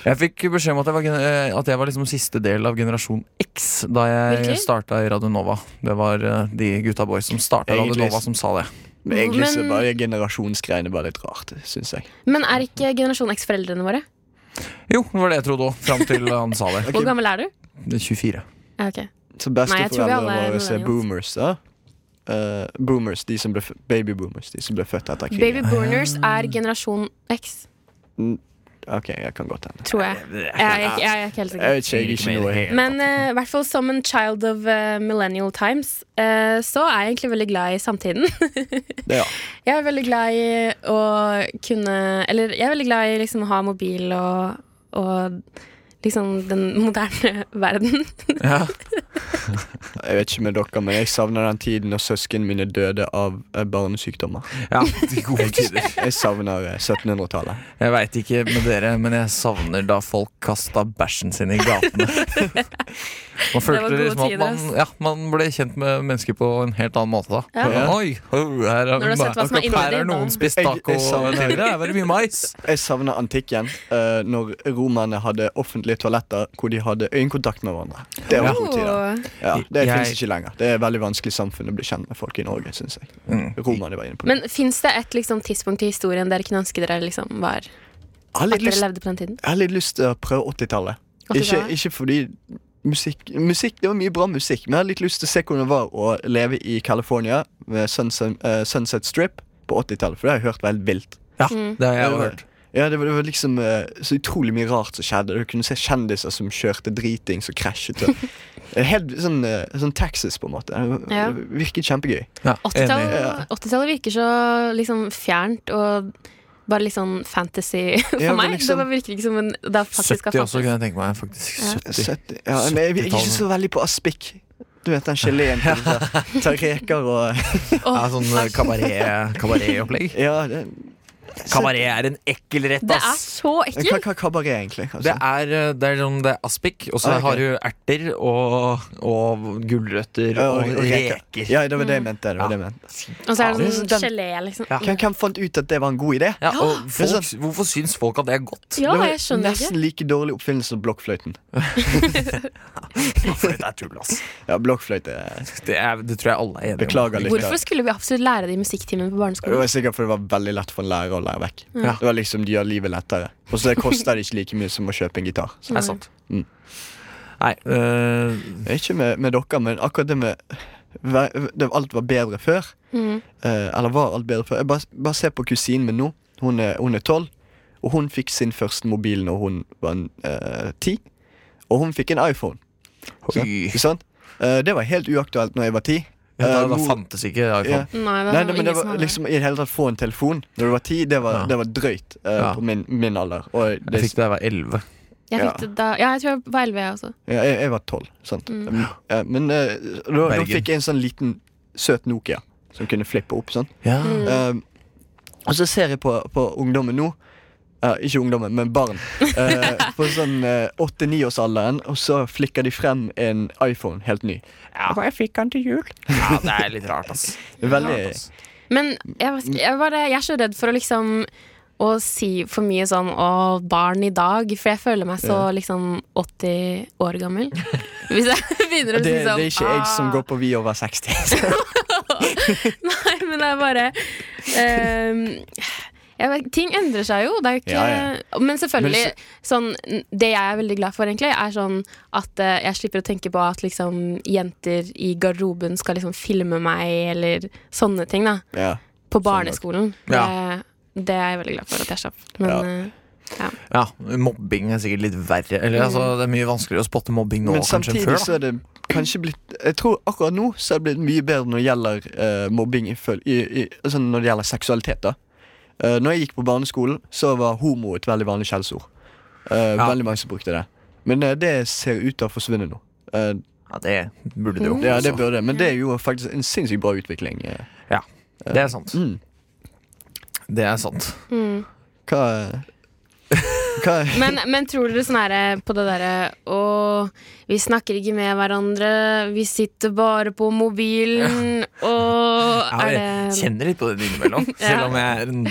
B: Jeg fikk beskjed om at jeg var, gen- eh, at jeg var liksom siste del av generasjon X da jeg
C: Virkelig?
B: starta i Radio Nova. Det var eh, de gutta boys som starta Radio
A: Egentlig-
B: Nova, som sa det.
A: Men egentlig så
C: Men-
A: er bare generasjonsgreiene bare litt rart, syns jeg.
C: Men er ikke generasjon X foreldrene våre?
B: Jo, det var det jeg trodde òg, fram til han sa det.
A: Ok,
C: Hvor gammel er du?
B: Det er 24.
C: Ja, ok.
A: Så
C: Nei, jeg tror vi alle
A: besteforeldrene våre
C: er
A: er
C: millennials.
A: boomers, da. Eh, boomers, de som ble fø- baby boomers, de som ble født etter krigen.
C: Baby boomers er generasjon X,
A: Ok, jeg kan godt hende.
C: tror jeg. Jeg, er ikke- jeg er ikke helt sikker.
A: Jeg vet ikke, jeg er ikke noe helt
C: Men eh, i hvert fall som en child of eh, millennial times, eh, så er jeg egentlig veldig glad i samtiden.
A: Ja.
C: Jeg er veldig glad i å kunne Eller jeg er veldig glad i liksom å ha mobil og, og liksom den moderne verden.
B: Ja.
A: Jeg vet ikke med dere, men jeg savner den tiden når søsknene mine døde av eh, barnesykdommer.
B: ja, de gode tider.
A: Jeg savner eh, 1700-tallet.
B: Jeg veit ikke med dere, men jeg savner da folk kasta bæsjen sin i gatene. Man følte
C: gode
B: liksom at
C: tider,
B: man,
C: ass.
B: ja, man ble kjent med mennesker på en helt annen måte da.
C: Ja.
B: Oi, ho, her er,
C: Når du har sett hva som er inni
B: her
C: ditt,
B: er noen
C: da.
B: spist
A: Jeg-
B: taco
A: jeg savner-
B: tidligere. Her var det mye mais.
A: Jeg savner antikken, eh, når romerne hadde offentlige toaletter hvor de hadde øyekontakt med hverandre. Det var gode tider.
C: Åh.
A: Ja, det
C: Oh.
B: Jeg-
A: fins ikke lenger. Det er et veldig vanskelig samfunn å bli kjent med folk i Norge, syns jeg.
B: Mm.
A: Romerne var inne på det.
C: Men fins det et liksom, tidspunkt i historien dere kunne ønske dere liksom, var
A: Jeg har
C: At
A: litt
C: dere
A: lyst,
C: levde på den tiden?
A: jeg har litt lyst til å prøve 80-tallet. Ikke,
C: 80-tallet?
A: ikke fordi musikk, musikk Det var mye bra musikk, men jeg har litt lyst til å se hvordan det var å leve i California med Sunset, eh, Sunset Strip på 80-tallet, for det har jeg hørt var helt vilt.
B: Ja,
C: Mm.
B: det har jeg
A: Det var-
B: hørt.
A: Ja, det var, det var liksom eh, så utrolig mye rart som skjedde. Du kunne se kjendiser som kjørte driting, som krasjet. og- Helt sånn, eh, sånn Texas, på en måte. Det
C: Ja.
A: virket kjempegøy.
B: Ja, enig.
C: 80-tallet 80-tallet virker så liksom, fjernt og bare litt sånn fantasy for
A: Ja, men
C: meg.
A: liksom-
C: Det bare virker ikke som en det faktisk
B: 70 også
C: har fantes.
B: kunne jeg tenke meg. Faktisk 70.
A: Søtti- ja, men jeg, jeg er ikke så veldig på aspik. Du vet den geleen som tar reker og
C: Åh,
B: Ja, sånn eh, kabaret- kabaretopplegg.
A: Ja, det,
B: Kabaret er en ekkel rett,
C: det er
B: ass.
C: så
A: hva,
C: ekkelt!
A: hva kabaret, egentlig? altså? kanskje?
B: Det er, eh, det er, sånn, det er aspik, og så
A: Ah, ok.
B: har du erter og, og gulrøtter
A: Ja,
B: og, reker.
A: Ja, det var
C: Mm.
A: det jeg mente. Det var det jeg mente.
C: Og så er det
A: Ja.
C: sånn gelé, liksom.
B: Ja.
A: Hvem, hvem fant ut at det var en god idé?
B: Ja, og
A: Det er
B: folk, hvorfor syns folk at det er godt?
C: Ja,
A: det var
C: jeg skjønner
A: Nesten
C: ikke.
A: like dårlig oppfinnelse som blokkfløyten.
B: For det er tull, ass.
A: Ja, blokkfløyte eh,
B: Det, er, det tror jeg alle er enige om.
A: Beklager litt.
C: Hvorfor skulle vi absolutt lære det i musikktimen på
A: Det var
C: barneskolen?
A: sikkert fordi det var veldig lett for en lærer å lære vekk.
B: Ja.
A: Det var liksom de gjør livet lettere Og så koster det ikke like mye som å kjøpe en gitar. Så.
B: Det er sant.
A: Mm.
B: Nei øh,
A: Ikke med, med dere, men akkurat det med vær- det, Alt var bedre før.
B: Mm.
A: Eh, eller var alt bedre før? Jeg bare, bare se på kusinen min nå. Hun er hun er tolv. Og hun fikk sin første mobil når hun var eh, ti. og hun fikk en iPhone.
B: Oi.
A: Ikke sant? Eh, det var helt uaktuelt når jeg var ti.
B: ja, da, da
A: mor-
B: fantes ikke
A: Ja.
B: iPhone.
C: Nei, det
A: Nei,
C: var
A: det, men
C: ingen
A: det
C: som
A: var
C: hadde det.
A: liksom I det hele tatt få en telefon når du var ti, det var,
B: Ja.
A: det var drøyt eh,
B: Ja.
A: på min, min alder. Og det,
B: Jeg fikk det da jeg var 11.
C: Jeg
A: ja.
C: fikk det da Ja, jeg tror jeg var 11, jeg også.
A: Ja, jeg, jeg var tolv, sant. Mm. Ja, men eh, da, da
B: Bergen.
A: fikk jeg en sånn liten søt Nokia som kunne flippe opp. sånn
B: Ja.
A: Eh, Og så ser jeg på, på ungdommen nå. eh, ikke ungdommen, men barn. eh, på sånn åtte-niårsalderen, og så flikker de frem en iPhone helt ny.
B: jeg fikk den til jul. Ja, det er litt rart, ass.
A: Det er liksom Veldig
B: Rart, ass.
C: Men jeg, vet ikke, jeg, bare, jeg er så redd for å liksom å si for mye sånn 'å, barn i dag', for jeg føler meg så liksom 80 år gammel. Hvis jeg begynner å
A: det,
C: si sånn
A: det er ikke jeg som
C: «Ah».
A: går på Vi over 60.
C: Nei, men det er bare ehm, jeg vet, Ting endrer seg jo. Det er jo ikke
A: Ja,
C: Men selvfølgelig,
A: Men
C: sånn, det jeg er veldig glad for, egentlig, er sånn at eh, jeg slipper å tenke på at liksom, jenter i garderoben skal liksom filme meg, eller sånne ting. da
A: ja.
C: På barneskolen.
B: Ja.
C: Det, det er jeg veldig glad for at jeg slapp. Men
A: Ja.
C: eh, ja.
B: Ja, mobbing er sikkert litt verre. Eller altså, Det er mye vanskeligere å spotte mobbing nå
A: Mm. Men
B: kanskje enn før.
A: samtidig så
B: Da.
A: er det kanskje blitt Jeg tror akkurat nå så er det blitt mye bedre når det gjelder eh, mobbing i, føl- i, i, sånn når det gjelder seksualitet. da Eh, Når jeg gikk på barneskolen, så var homo et veldig vanlig skjellsord. Eh,
B: Ja.
A: Veldig mange som brukte det. Men eh, det ser ut til å forsvinne nå. Eh,
B: Ja, det burde det jo.
A: Mm. ja, det
B: også.
A: burde det, men det er jo faktisk en sinnssykt bra utvikling. eh.
B: ja, det er sant.
A: Mm.
B: Det er sant.
A: Hva Hva
C: Men, men tror dere sånn her på det derre Å, vi snakker ikke med hverandre, vi sitter bare på mobilen, og er
B: Jeg
C: det
B: kjenner litt på det innimellom.
C: Ja.
B: Selv om jeg er, en,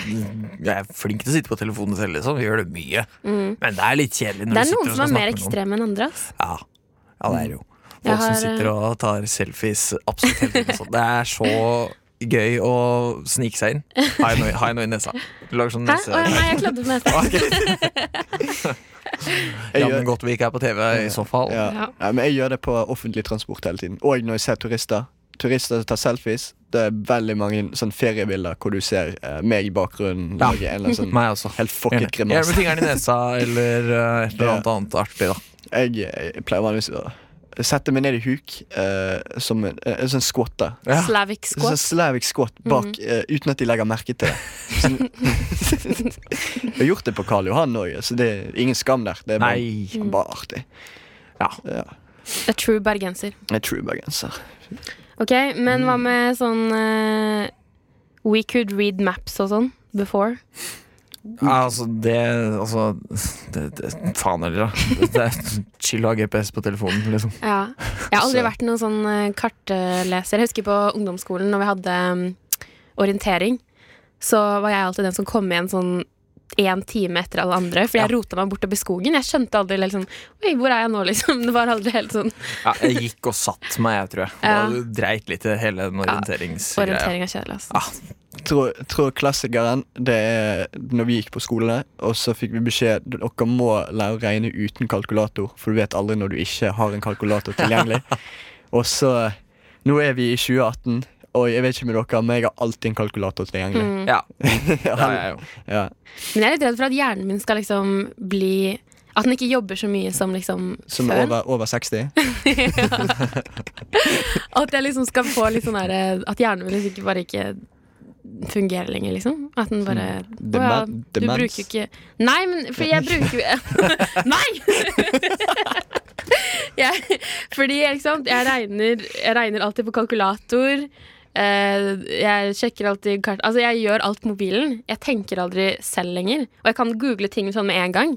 B: jeg er flink til å sitte på telefonen selv, liksom. Vi gjør det mye. Men det er litt kjedelig når
C: Mm. Det er
B: du sitter
C: noen
B: og
C: som
B: skal snakke
C: er mer
B: med noen.
C: ekstreme enn andre. ass.
B: Ja. ja, det er det jo.
C: Jeg
B: Folk som
C: har, eh,
B: sitter og tar selfies absolutt hele tiden. og sånn. Det er så gøy å snike seg inn. Har jeg noe, har jeg noe i nesa? Du lager sånn
C: Hæ? Å, ja,
B: nese...
C: nei, jeg kladdet med det.
B: Ja,
A: Jeg
B: men
A: gjør,
B: godt vi ikke er på TV i så fall.
A: ja.
C: Ja.
A: Nei, men jeg gjør det på offentlig transport hele tiden. Og når jeg ser turister. Turister som tar selfies. Det er veldig mange sånn feriebilder hvor du ser eh, meg i bakgrunnen
B: Ja.
A: lage en eller annen sånn
B: Meg også.
A: helt
B: Gjerne.
A: fucket
B: Gjerne
A: grimas.
B: med fingeren i nesa eller eh, et eller annet
A: Ja.
B: annet artig, da.
A: Jeg, jeg pleier vanligvis å sette meg ned i huk eh, som en, en sånn squatter.
B: Ja.
C: Slavic
A: Sånn
C: squat.
A: slavic squat bak eh, uten at de legger merke til det. Sånn. jeg har gjort det på Karl Johan òg, så det er ingen skam der. Det er bare,
B: Nei.
A: bare artig.
B: Ja.
A: Ja.
C: A true bergenser.
A: Jeg er true bergenser.
C: Ok, men
B: Mm.
C: hva med sånn eh, We could read maps og sånn before.
B: Ja, altså, det Altså, det, det, faen heller, da. Det, det er chill å ha GPS på telefonen, liksom.
C: Ja. Jeg har aldri
A: Så-
C: vært noen sånn eh, kartleser. Jeg husker på ungdomsskolen når vi hadde mm, orientering, så var jeg alltid den som kom igjen sånn én time etter alle andre, for jeg rota meg bortover skogen. Jeg skjønte aldri liksom Oi, hvor er jeg nå, liksom? Det var aldri helt sånn
B: Ja, jeg gikk og satt meg, jeg, tror jeg.
C: Ja.
B: Da dreit litt i hele den Ah, orienteringsgreia.
C: Orientering er kjedelig, altså.
B: Ja.
A: tror, tror klassikeren det er når vi gikk på skole, og så fikk vi beskjed dere må lære å regne uten kalkulator, for du vet aldri når du ikke har en kalkulator tilgjengelig. og så Nå er vi i 2018, og jeg vet ikke med dere, men jeg har alltid en kalkulator tilgjengelig.
C: Mm.
B: Ja, det er jeg jo.
A: ja.
C: Men jeg er litt redd for at hjernen min skal liksom bli At den ikke jobber så mye som liksom
A: Som er over,
C: før.
A: over 60.
C: At jeg liksom skal få litt sånn derre At hjernen min liksom ikke bare ikke fungerer lenger, liksom. At den bare
A: Demen-
C: Å ja, du
A: demens.
C: bruker jo ikke Nei, men for jeg bruker jo Nei! jeg, fordi, ikke sant, jeg regner, jeg regner alltid på kalkulator. eh, jeg sjekker alltid kart Altså, jeg gjør alt på mobilen. Jeg tenker aldri selv lenger. Og jeg kan google ting sånn med en gang.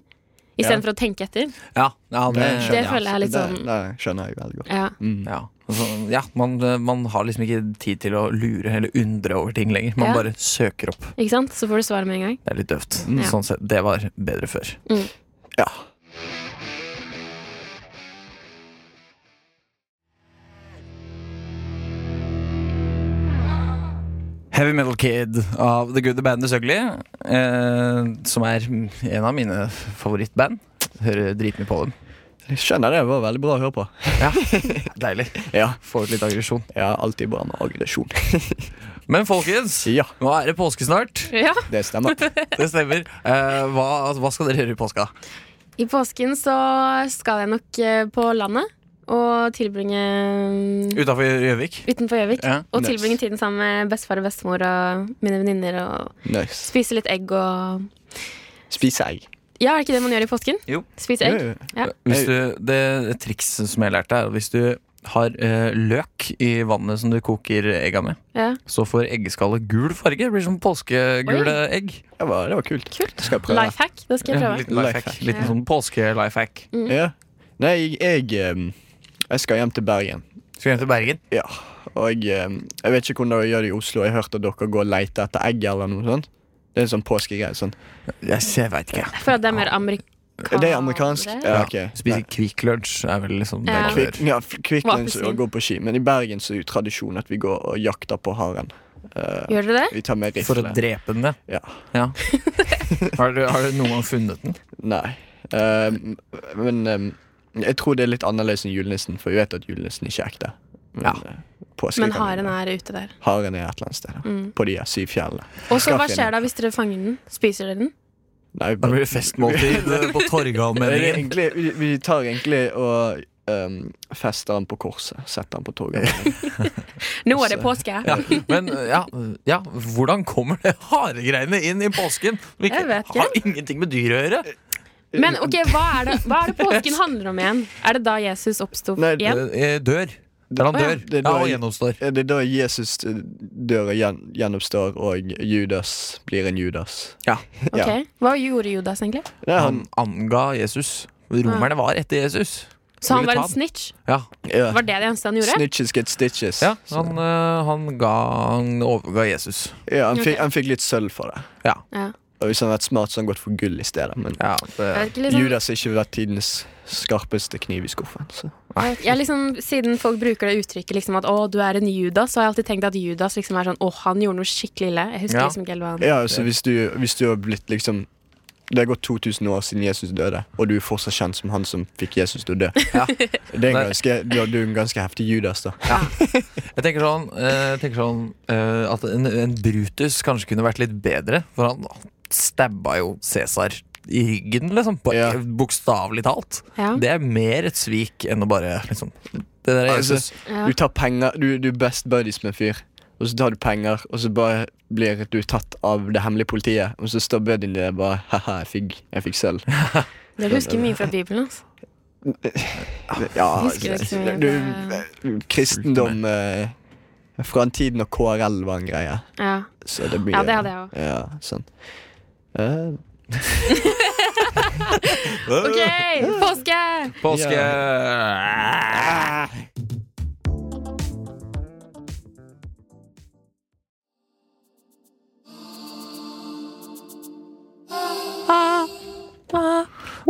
C: Istedenfor for å tenke etter.
B: Ja, ja, det,
A: skjønner
C: Det føler jeg er litt
A: Det,
C: sånn-
A: det skjønner jeg veldig godt.
C: Ja.
B: ja. Altså, ja man, man har liksom ikke tid til å lure eller undre over ting lenger. Man
C: Ja.
B: bare søker opp.
C: Ikke sant? Så får du svaret med en gang.
B: Det er litt døvt.
C: Ja.
B: Sånn sett, det var bedre før.
A: Ja.
B: Heavy Metal Kid av The Good, The Bad and The Sugly, eh, som er en av mine favorittband. Hører dritmye på dem.
A: Jeg skjønner det. Det var veldig bra å høre på.
B: Ja, Deilig.
A: Ja,
B: Får ut litt aggresjon.
A: ja alltid bra med aggresjon.
B: Men folkens,
A: Ja,
B: nå er det påske snart.
C: Ja.
A: det stemmer.
B: Det stemmer. Eh, hva, altså, hva skal dere gjøre i påska?
C: I påsken så skal jeg nok eh, på landet og tilbringe mm,
B: Utafor Gjøvik?
C: utenfor Gjøvik.
B: Ja,
C: og
A: nice.
C: tilbringe tiden sammen med bestefar og bestemor og mine venninner. Og
A: Nice.
C: spise litt egg og
A: Spise egg.
C: Ja, er det ikke det man gjør i påsken?
B: Jo.
C: Spise egg.
A: Jo, jo.
C: Ja.
B: Hvis du, det trikset som jeg lærte, er at hvis du har eh, løk i vannet som du koker egga med,
C: Ja.
B: så får eggeskallet gul farge. Det blir som påskegule egg.
A: Det var, det var kult.
C: Kult.
A: Det skal jeg prøve.
C: Life hack. Det skal jeg
B: Ja,
C: prøve.
B: liten lifehack.
A: Lifehack.
B: Liten
C: Ja.
B: sånn påske-lifehack.
C: Mm.
A: Ja. Nei, jeg, jeg, em, jeg skal hjem til Bergen.
B: Skal hjem til Bergen.
A: Ja, og jeg, em, jeg vet ikke hvordan dere gjør det i Oslo. Jeg har hørt at dere går og leter etter egg eller noe sånt. Det er en sånn påskegreie. Sånn.
B: Jeg veit ikke.
C: Jeg føler at det er mer amerikansk.
A: Det er amerikansk. Ja, ok.
B: Spise Kvikk Lunsj er vel liksom
C: Ja.
B: det
A: Kvikk,
B: det
A: ja, f- Kvikk
C: Og
A: Lunsj
C: appelsin.
A: og gå på ski. Men i Bergen så er det jo tradisjon at vi går og jakter på haren. Eh,
C: Gjør dere det?
A: vi tar med
B: gjør. For å
A: rifle.
B: drepe den, ja.
A: Ja.
B: Ja. Har, du, har du noen gang funnet den?
A: Nei. Eh, m- men em, jeg tror det er litt annerledes enn julenissen, for vi vet at julenissen ikke er ekte. Men,
B: Ja.
A: eh, påske
C: Men
A: kan jo
C: haren
A: være.
C: er Mm. ute der.
A: haren er et eller annet sted. da. På de her syv fjellene.
C: Og så
A: Skal
C: hva
A: finne.
C: skjer da hvis dere fanger den? Spiser dere den?
A: Nei, vi
B: Da
A: bare-
B: blir det festmåltid eh, på
A: Det er
B: Torgallmenningen.
A: egentlig, vi, vi tar egentlig og um, fester den på korset. Setter den på toget.
C: Nå er det påske.
B: Ja, men ja, ja, hvordan kommer det haregreiene inn i påsken? Som ikke,
C: Jeg vet ikke.
B: Har ingenting med dyr å gjøre.
C: Men ok, hva er, det, hva er det påsken handler om igjen? Er det da Jesus oppsto
A: Nei, det-
C: igjen?
B: Eh, Dør. Der han
C: Å, ja.
B: dør.
A: Det er da
B: Ja, og
A: jeg-
B: gjennomstår.
A: Er det da Jesus eh, dør og gjen, gjenoppstår, og Judas blir en Judas?
B: Ja.
C: Ok, Hva gjorde Judas egentlig?
A: Nei, han,
B: Han anga Jesus. Romerne var etter Jesus.
C: Så han
B: Ville
C: var
B: ta
C: en snitch?
B: Ja,
A: ja.
C: Var det det eneste han gjorde?
A: Snitches get stitches.
B: ja han, eh, han, ga, han overga Jesus.
A: Ja, han,
C: Ok.
A: fikk, han fikk litt sølv for det.
B: Ja.
C: Ja.
A: Og Hvis han hadde vært smart, så hadde han gått for gull i stedet. Men
B: ja
C: Jeg
B: det,
C: vet ikke, liksom,
A: Judas har ikke vært tidens skarpeste kniv i skuffen. Så.
C: jeg, jeg liksom, siden folk bruker det uttrykket liksom at 'å, du er en Judas', så har jeg alltid tenkt at Judas liksom er sånn 'å, han gjorde noe skikkelig ille'. Jeg husker
B: Ja.
C: liksom ikke helt hva han
A: Ja, altså, hvis, du, hvis du har blitt liksom det har gått 2000 år siden Jesus døde, og du er fortsatt kjent som han som fikk Jesus til å dø.
B: Ja.
A: Det er en ganske, du har- du er en ganske heftig Judas, da.
B: jeg tenker sånn, eh, jeg tenker sånn eh, at en, en Brutus kanskje kunne vært litt bedre, for han stabba jo Cæsar i ryggen, liksom. På,
A: Ja.
B: Bokstavelig talt.
C: Ja.
B: Det er mer et svik enn å bare liksom Det der er
A: Altså,
B: Jesus.
C: Ja.
A: Du tar penger, du, du er best buddies med en fyr, og så tar du penger, og så bare blir du tatt av det hemmelige politiet, og så står buddyen din der bare Haha, jeg fikk, jeg fikk sølv.
C: Dere husker mye fra Bibelen, altså.
A: Ja,
C: Husker det ikke så mye,
A: du, kristendom eh, fra en tid når KRL var en greie.
C: Ja.
A: Så det blir
C: Ja, det hadde jeg også.
A: Ja, sånn. Eh,
B: Øh.
C: OK, påske!
B: Påske
C: Ah, ah.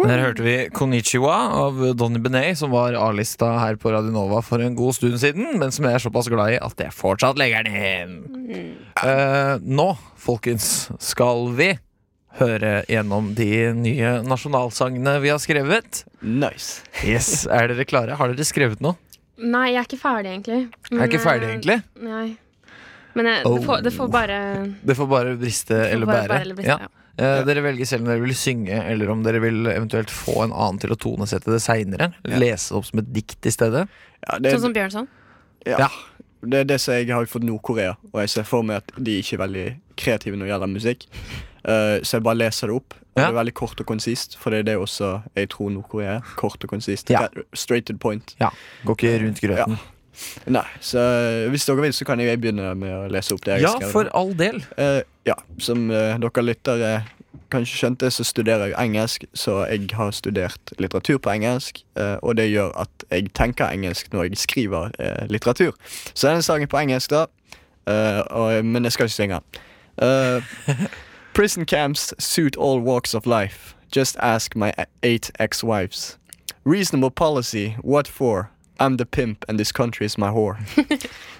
B: Der hørte vi Konnichiwa av Donny Benet, som var A-lista her på Radionova for en god stund siden, men som jeg er såpass glad i at jeg fortsatt legger den inn. Eh, nå, folkens, skal vi høre gjennom de nye nasjonalsangene vi har skrevet.
A: nice.
B: Yes, Er dere klare? Har dere skrevet noe?
C: Nei, jeg er ikke ferdig, egentlig.
B: Jeg er ikke
C: Men,
B: ferdig,
C: eh,
B: egentlig.
C: Nei. Men eh,
B: Oh.
C: det, får, det får bare
B: Det får bare briste eller
C: bare-
B: bære.
C: bare eller briste,
B: ja. Eh, Dere velger selv om dere vil synge, eller om dere vil eventuelt få en annen til å tonesette det seinere. Lese det opp som et dikt i stedet.
A: Ja, det,
C: Sånn som Bjørnson.
A: ja. det er det som jeg har fått Nord-Korea, og jeg ser for meg at de ikke er veldig kreative når det gjelder musikk. Eh, så jeg bare leser det opp. Og
B: Ja.
A: Det er veldig kort og konsist, for det er det også jeg tror Nord-Korea er. Kort og konsist.
B: Ja.
A: Re- Straight to the point.
B: Ja, Går ikke rundt grøten.
A: Nei, så eh, hvis dere vil, så kan jeg begynne med å lese opp det
B: Ja,
A: jeg skrev.
B: for all del.
A: Eh, ja, som eh, dere lyttere kanskje skjønte, så studerer jeg engelsk, så jeg har studert litteratur på engelsk, eh, og det gjør at jeg tenker engelsk når jeg skriver eh, litteratur. Så denne sangen er på engelsk, da, eh, og, men jeg skal ikke synge den. Eh, prison camps suit all walks of life. Just ask my eight ex-wives. Reasonable policy, what for? I'm the pimp and this country is my whore.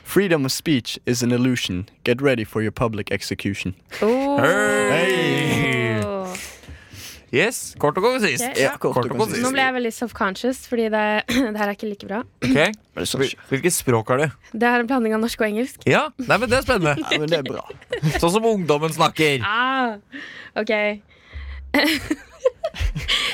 A: Freedom of speech is an illusion. Get ready for your public execution.
C: Oh.
B: Hey!
C: Oh.
B: Yes, kort og konsist.
C: Ok.
A: Ja, kort og konsist.
C: Nå ble jeg veldig self-conscious, fordi det, det her er ikke like bra.
B: Ok.
A: Men det, er sånn,
B: Hvil- Hvilket språk har du?
C: Det er en blanding av norsk og engelsk.
B: Ja, Nei, men Det er spennende.
A: ja, men det er bra.
B: Sånn som ungdommen snakker.
C: Ah, ok.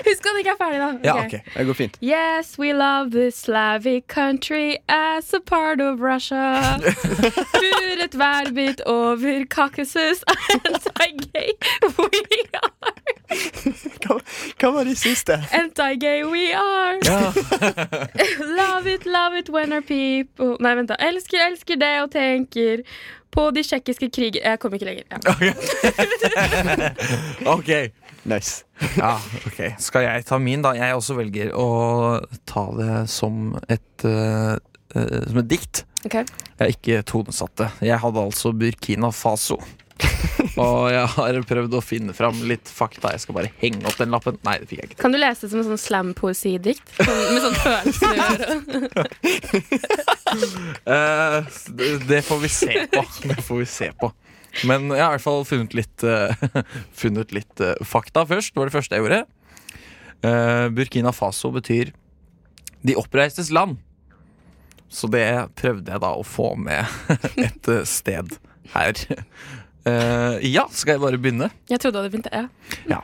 C: Husk at det ikke er ferdig, da.
B: Ja,
C: Ok.
B: ok
A: Det går fint.
C: Yes, we love this Slavic country as a part of Russia. Buret værbitt over Caucasus and Taigei. We are
A: Hva, hva var de siste?
C: Anti-gay we are! love it, love it when our people Nei, vent, da. Elsker, elsker det og tenker på de tsjekkiske kriger Jeg kom ikke lenger. Ja.
B: Ok.
A: Nice.
B: Ja, ok. Skal jeg ta min, da? Jeg også velger å ta det som et, eh, eh, som et dikt.
C: Ok.
B: Jeg er ikke tonesatt det. Jeg hadde altså Burkina Faso. Og jeg har prøvd å finne fram litt fakta. Jeg skal bare henge opp den lappen. Nei, det fikk jeg ikke til.
C: Kan du lese det som en sånn slampoesidikt? Sånn, med sånn følelse i øret.
B: Eh, det- det får vi se på. Det får vi se på. Men jeg har i hvert fall funnet litt, eh, funnet litt eh, fakta først. Det var det første jeg gjorde. Eh, Burkina Faso betyr 'de oppreistes land'. Så det prøvde jeg da å få med et eh, sted her. Eh, ja, skal jeg bare begynne?
C: Jeg trodde du hadde begynt. Ja.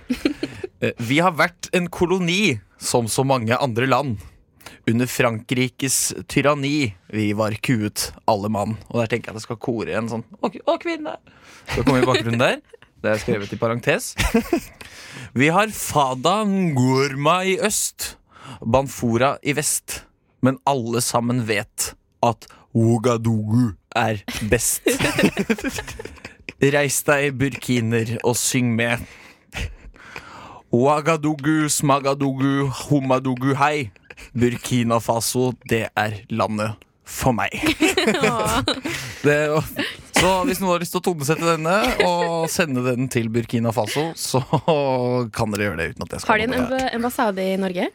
B: Eh, Vi har vært en koloni som så mange andre land. Under Frankrikes tyranni vi var kuet, alle mann. Og der tenker jeg at jeg skal kore en sånn Å, k- å, kvinne! Så kommer vi i bakgrunnen der. Det er skrevet i parentes. Vi har Fada Ngurma i øst, Banfora i vest. Men alle sammen vet at Ouagadougou er best. Reis deg, burkiner, og syng med. Ouagadougou, smagadougou, homadougou, hei. Burkina Faso, det er landet for meg. det, så hvis noen har lyst til å tonesette denne og sende den til Burkina Faso, så kan dere gjøre det uten at jeg skal
C: Har de en amb- ambassade i Norge?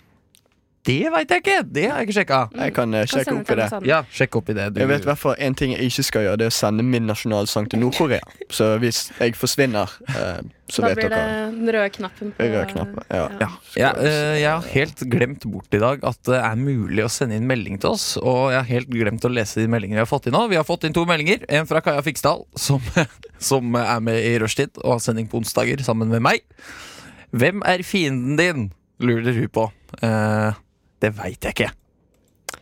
B: Det veit jeg ikke! Det har jeg ikke sjekka.
A: Jeg kan eh,
C: Kan
A: sjekke
C: sende
A: opp i
C: til sånn.
A: det.
C: ambassaden.
B: Ja, sjekk opp i det. Du.
A: Jeg vet i hvert fall en ting jeg ikke skal gjøre, det er å sende min nasjonalsang til Nord-Korea. Så hvis jeg forsvinner, eh, så
C: Da
A: vet
C: blir det
A: dere.
C: den røde knappen. på-
A: Røde knappen, ja.
B: Ja. Jeg, eh, jeg har helt glemt bort i dag at det er mulig å sende inn melding til oss. Og jeg har helt glemt å lese de meldingene vi har fått inn nå. Vi har fått inn to meldinger. En fra Kaja Fiksdal, som, som er med i Rushtid og har sending på onsdager sammen med meg. Hvem er fienden din? lurer hun på. Eh, det veit jeg ikke.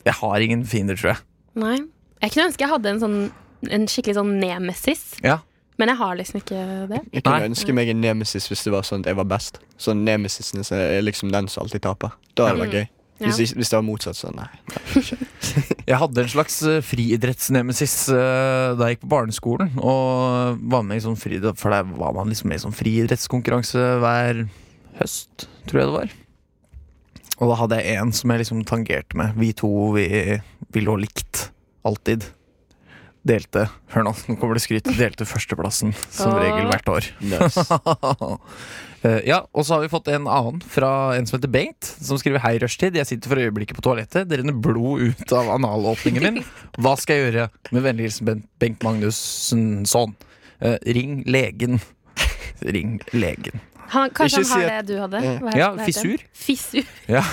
B: Jeg har ingen fiender, tror jeg.
C: Nei. Jeg kunne ønske jeg hadde en, sånn, en skikkelig sånn nemesis,
B: Ja.
C: men jeg har liksom ikke det.
A: Jeg kunne
B: Nei.
A: ønske meg en nemesis hvis det var sånn at jeg var best. Så nemesisen er liksom den som alltid taper. Da hadde det
C: Mm.
A: vært gøy. Hvis, ikke- hvis det var motsatt, så nei.
B: Jeg hadde en slags eh, friidrettsnemesis eh, da jeg gikk på barneskolen. Og var med i sånn friidrett, For der var man liksom med i sånn friidrettskonkurranse hver høst, tror jeg det var. Og da hadde jeg en som jeg liksom tangerte med. Vi to, vi, vi lå likt. Alltid. Delte Hør nå, nå kommer det skryt. Delte førsteplassen som
C: Åh.
B: regel hvert år.
A: Nice.
B: Eh, ja, og så har vi fått en annen fra en som heter Bengt, som skriver Hei, rushtid. Jeg sitter for øyeblikket på toalettet. Det renner blod ut av analåpningen min. Hva skal jeg gjøre? Med vennlig hilsen Ben- Bengt Magnussen sånn. Eh, ring legen. Ring legen.
C: Han, kanskje
A: Ikke
C: han har
A: si at-
C: det du hadde?
A: Ja.
C: Hva
B: Ja,
C: hva heter
B: fissur.
C: det? Fissur.
B: Ja,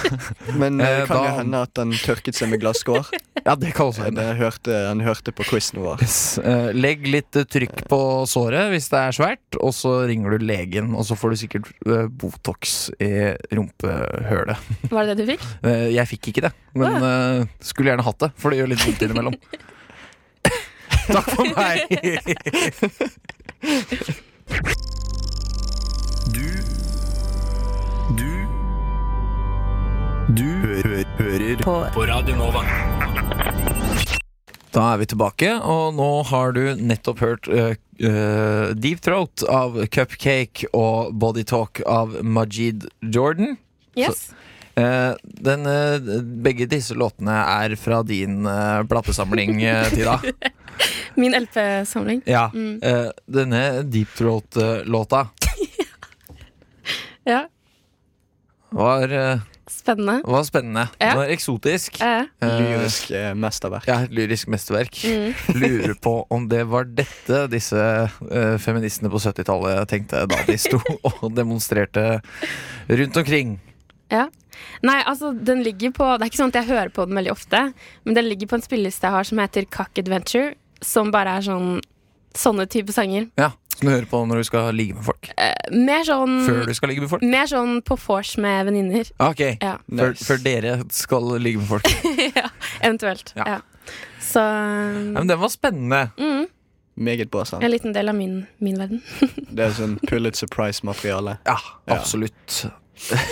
A: Men eh,
B: Eh,
A: kan det
B: da-
A: hende at han tørket seg med glasskår?
B: ja det kan også hende.
A: Han hørte, han hørte på quizen vår.
B: Yes. Eh, legg litt eh, trykk på såret hvis det er svært, og så ringer du legen. Og så får du sikkert eh, Botox i rumpehølet.
C: Var det det du fikk?
B: Eh, Jeg fikk ikke det, men eh, skulle gjerne hatt det, for det gjør litt vondt innimellom. Takk for meg! Da er vi tilbake, og nå har du nettopp hørt eh, eh, Deep Throat av Cupcake og Body Talk av Majid Jordan.
C: Yes.
B: Eh, den, eh, begge disse låtene er fra din eh, platesamling, eh, Tida.
C: Min LP-samling.
B: Ja.
C: Mm.
B: Eh, denne Deep Throat-låta
C: Ja.
B: var, eh,
C: Spennende.
B: var spennende.
C: Ja.
B: Den var eksotisk.
C: Eh,
B: Eh,
A: Lyrisk eh, mesterverk.
B: ja, et lyrisk mesterverk.
C: Mm.
B: Lurer på om det var dette disse eh, feministene på 70-tallet tenkte da de sto og demonstrerte rundt omkring.
C: ja. Nei, altså, den ligger på Det er ikke sånn at jeg hører på den veldig ofte, men den ligger på en spilleliste jeg har som heter Cock Adventure, som bare er sånn sånne type sanger.
B: Ja, Som du hører på når du skal ligge med folk.
C: Mer sånn
B: Før du skal ligge med folk.
C: Mer sånn på vors med venninner.
B: Ok,
C: mm. Ja. Mm.
B: før,
A: Nice.
B: før dere skal ligge med folk.
C: Eventuelt.
B: Ja.
C: Ja. Så
B: Ja, men den var spennende.
A: Meget bra sang.
C: En liten del av min, min verden.
A: Det er sånn Pulitzer Prize-materiale.
B: Ja,
A: Ja.
B: absolutt.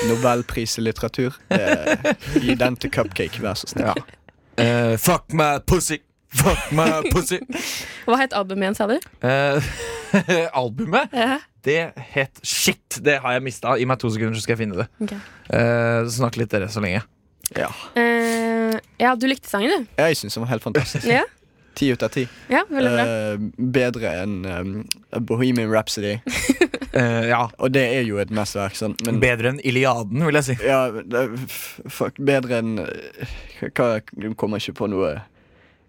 A: Nobelpris i litteratur. Eh, gi den til Cupcake, vær så snill.
B: Ja. Eh, fuck my pussy! Fuck my pussy!
C: Hva het albumet igjen, sa du?
B: Eh, albumet,
C: Ja.
B: det het Shit! Det har jeg mista. Gi meg to sekunder, så skal jeg finne det.
C: Ok.
B: Eh, snakk litt dere så lenge.
A: Ja.
C: Eh, ja, du likte sangen,
A: Jeg syns den var helt fantastisk.
C: du. Ja,
A: Ti ut av ti.
C: ja veldig bra.
A: Eh, bedre enn eh, Bohemian Rhapsody.
B: Eh, ja.
A: Og det er jo et mesterverk, sant? men
B: Bedre enn Iliaden, vil jeg si.
A: ja, det- f- fuck, bedre enn eh, hva, Du kommer ikke på noe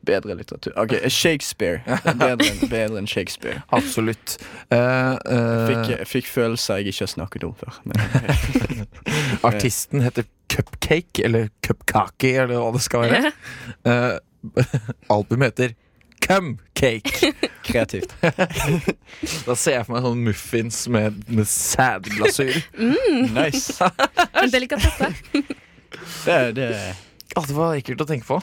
A: bedre litteratur. OK, Shakespeare. Bedre enn, bedre enn Shakespeare.
B: Absolutt. Eh, eh,
A: Fikk, fikk følelser jeg ikke har snakket om før. Men,
B: artisten heter Cupcake, eller Cupkake, eller hva det skal være. Eh, albumet heter Cumcake.
A: kreativt.
B: Da ser jeg for meg sånn muffins med, med sædglasur.
A: Nice.
C: En delikatesse.
A: Det, det
B: Å, det var ekkelt å tenke på.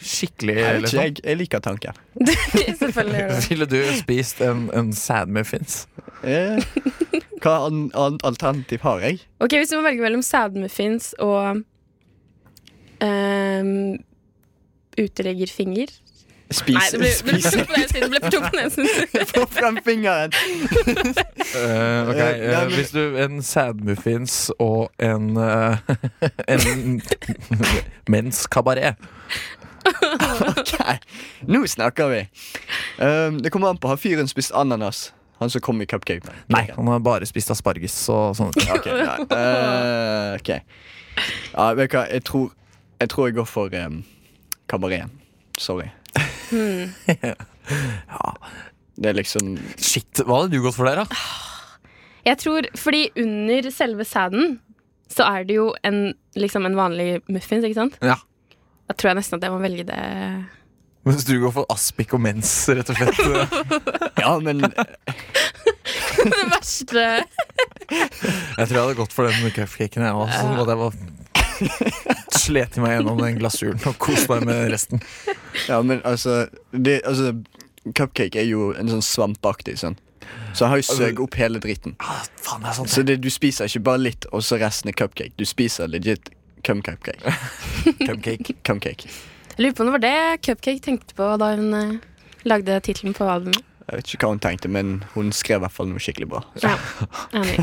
B: Skikkelig.
A: Jeg, vet
B: liksom.
A: ikke, jeg, jeg liker tanken.
C: Selvfølgelig gjør du det.
B: Ville du spist en, en sædmuffins?
A: Eh, hva an, annet alternativ har jeg?
C: Ok, Hvis du må velge mellom sædmuffins og um, uteliggerfinger
A: Spise.
C: Nei, det ble, det ble for
A: spise.
C: tungt på den siden. Det ble for tungt på den siden.
A: Få frem fingeren!
B: Eh,
A: Eh,
B: ok,
A: nei,
B: eh,
A: men-
B: Hvis du En sædmuffins og en eh, En menskabaret.
A: Ok, Nå snakker vi. Um, det kommer an på. Har fyren spist ananas? Han som kom i cupcake.
B: Nei, han har bare spist asparges og sånne ting.
A: Ok, nei. Eh, ok. Ja, vet du hva, jeg tror jeg, tror jeg går for um, kabareten. Sorry.
C: Hmm.
A: Det er liksom
B: Shit, hva hadde du gått for der, da?
C: Jeg tror, fordi under selve sæden så er det jo en, liksom en vanlig muffins, ikke sant?
B: Ja.
C: Da tror jeg nesten at jeg må velge det.
B: Mens du går for aspik og mens, rett og slett.
A: Ja, men
C: Det verste
B: Jeg tror jeg hadde gått for den cupcaken, jeg òg. Sånn at jeg bare slet meg gjennom den glasuren og koste meg med resten.
A: Ja, men altså, det, altså Cupcake er jo en sånn svampaktig sånn. Så han har jo søkt opp hele dritten.
B: Ah, faen, det er sant.
A: Så det, du spiser ikke bare litt, og så resten er cupcake. Du spiser legit cum cupcake.
B: Cupcake.
A: Cumcake.
C: Jeg lurer på om det var det Cupcake tenkte på da hun eh, lagde tittelen på albumet.
A: Jeg vet ikke hva hun tenkte, men hun skrev i hvert fall noe skikkelig bra.
C: Ja, enig.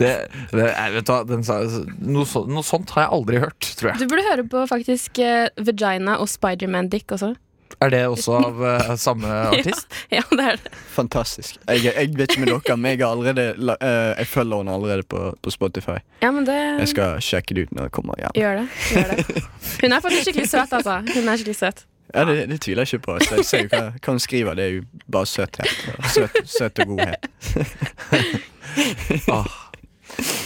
B: Det, det er, vet du hva, den sa, noe, så, noe sånt har jeg aldri hørt, tror jeg.
C: Du burde høre på faktisk eh, Vagina og Spiderman-dick også.
B: Er det også av eh, samme artist?
C: Ja, det er det.
A: Fantastisk. Jeg, jeg vet ikke med dere, men jeg, har allerede, la- eh, jeg følger henne allerede på, på Spotify.
C: Ja, men det
A: Jeg skal sjekke det ut når jeg kommer hjem.
C: Gjør det. Gjør det. Hun er faktisk skikkelig søt, altså. Hun er skikkelig søt.
A: Ja, det, det tviler jeg ikke på. Så jeg ser jo hva, hva hun skriver. Det er jo bare søthet. Søt, søt og godhet.
B: Ah.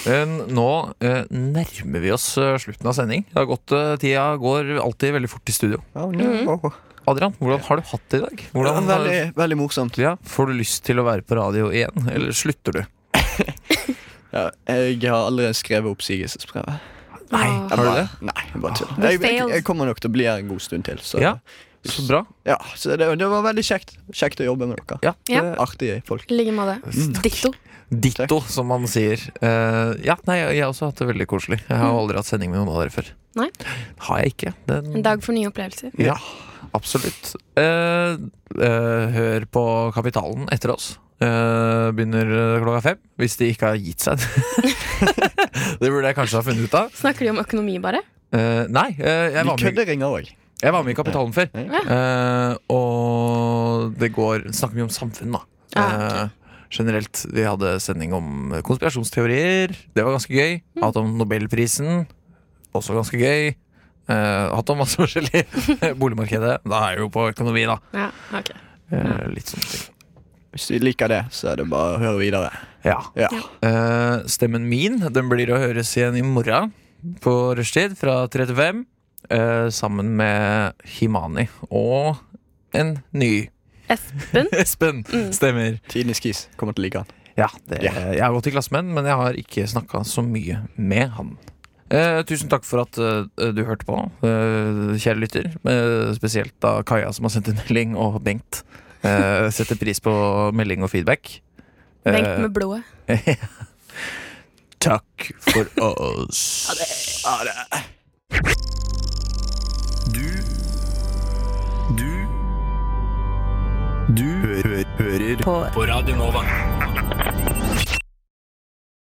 B: Men nå eh, nærmer vi oss eh, slutten av sending. Det har gått, eh, tida går alltid veldig fort i studio.
A: Oh, no.
B: Adrian, hvordan har du hatt det i dag? Hvordan,
A: veldig, veldig morsomt.
B: ja, får du lyst til å være på radio igjen, eller slutter du?
A: Ja, jeg har allerede skrevet oppsigelsesbrevet.
B: Nei,
C: Ah.
B: har du det?
A: Nei, jeg bare tuller.
C: The
A: Jeg, jeg,
C: fails.
A: jeg kommer nok til å bli her en god stund til. Så,
B: Ja, så bra.
A: Ja, så det, det var veldig kjekt. Kjekt å jobbe med dere.
B: Ja,
C: Ja.
B: det-
A: Artige folk.
C: I like måte. Ditto.
B: Ditto, som man sier. Eh, ja, nei, jeg har også hatt det veldig koselig. Jeg har aldri hatt sending med noen av dere før.
C: Mm. Nei.
B: Har jeg ikke. Den,
C: En dag for nye opplevelser.
B: Ja, absolutt. Eh, eh, hør på Kapitalen etter oss. Eh, begynner eh, klokka fem, hvis de ikke har gitt seg. det burde jeg kanskje ha funnet ut av.
C: Snakker de om økonomi, bare?
B: Eh, nei, eh, jeg,
A: Vi
B: var med,
A: kødderinger òg.
B: jeg var med i Kapitalen før. Eh, og det går Snakker mye om samfunn, da.
C: Ah,
B: Eh, generelt. Vi hadde sending om konspirasjonsteorier. Det var ganske gøy. Hatt om Nobelprisen. Også ganske gøy. Eh, hatt om masse forskjellig. Boligmarkedet. Da er jeg jo på økonomi, da.
C: Ja, ok.
B: Eh, litt sånne ting.
A: Hvis du liker det, så er det bare å høre videre.
B: Ja.
A: Ja.
B: Eh, stemmen min den blir å høres igjen i morgen på rushtid fra 3 til 5. eh, sammen med Himani og en ny
C: Espen?
B: Espen. Stemmer.
A: Tidens Kis kommer til å like han.
B: Ja, det,
A: Ja.
B: Jeg har gått i klasse med han, men jeg har ikke snakka så mye med han. Eh, tusen takk for at eh, du hørte på, eh, kjære lytter. Eh, spesielt da Kaja som har sendt en melding, og Bengt. Eh, setter pris på melding og feedback. Eh,
C: Bengt med blodet.
B: Takk for oss. Ha det. Du Du Du hører på Radio Nova.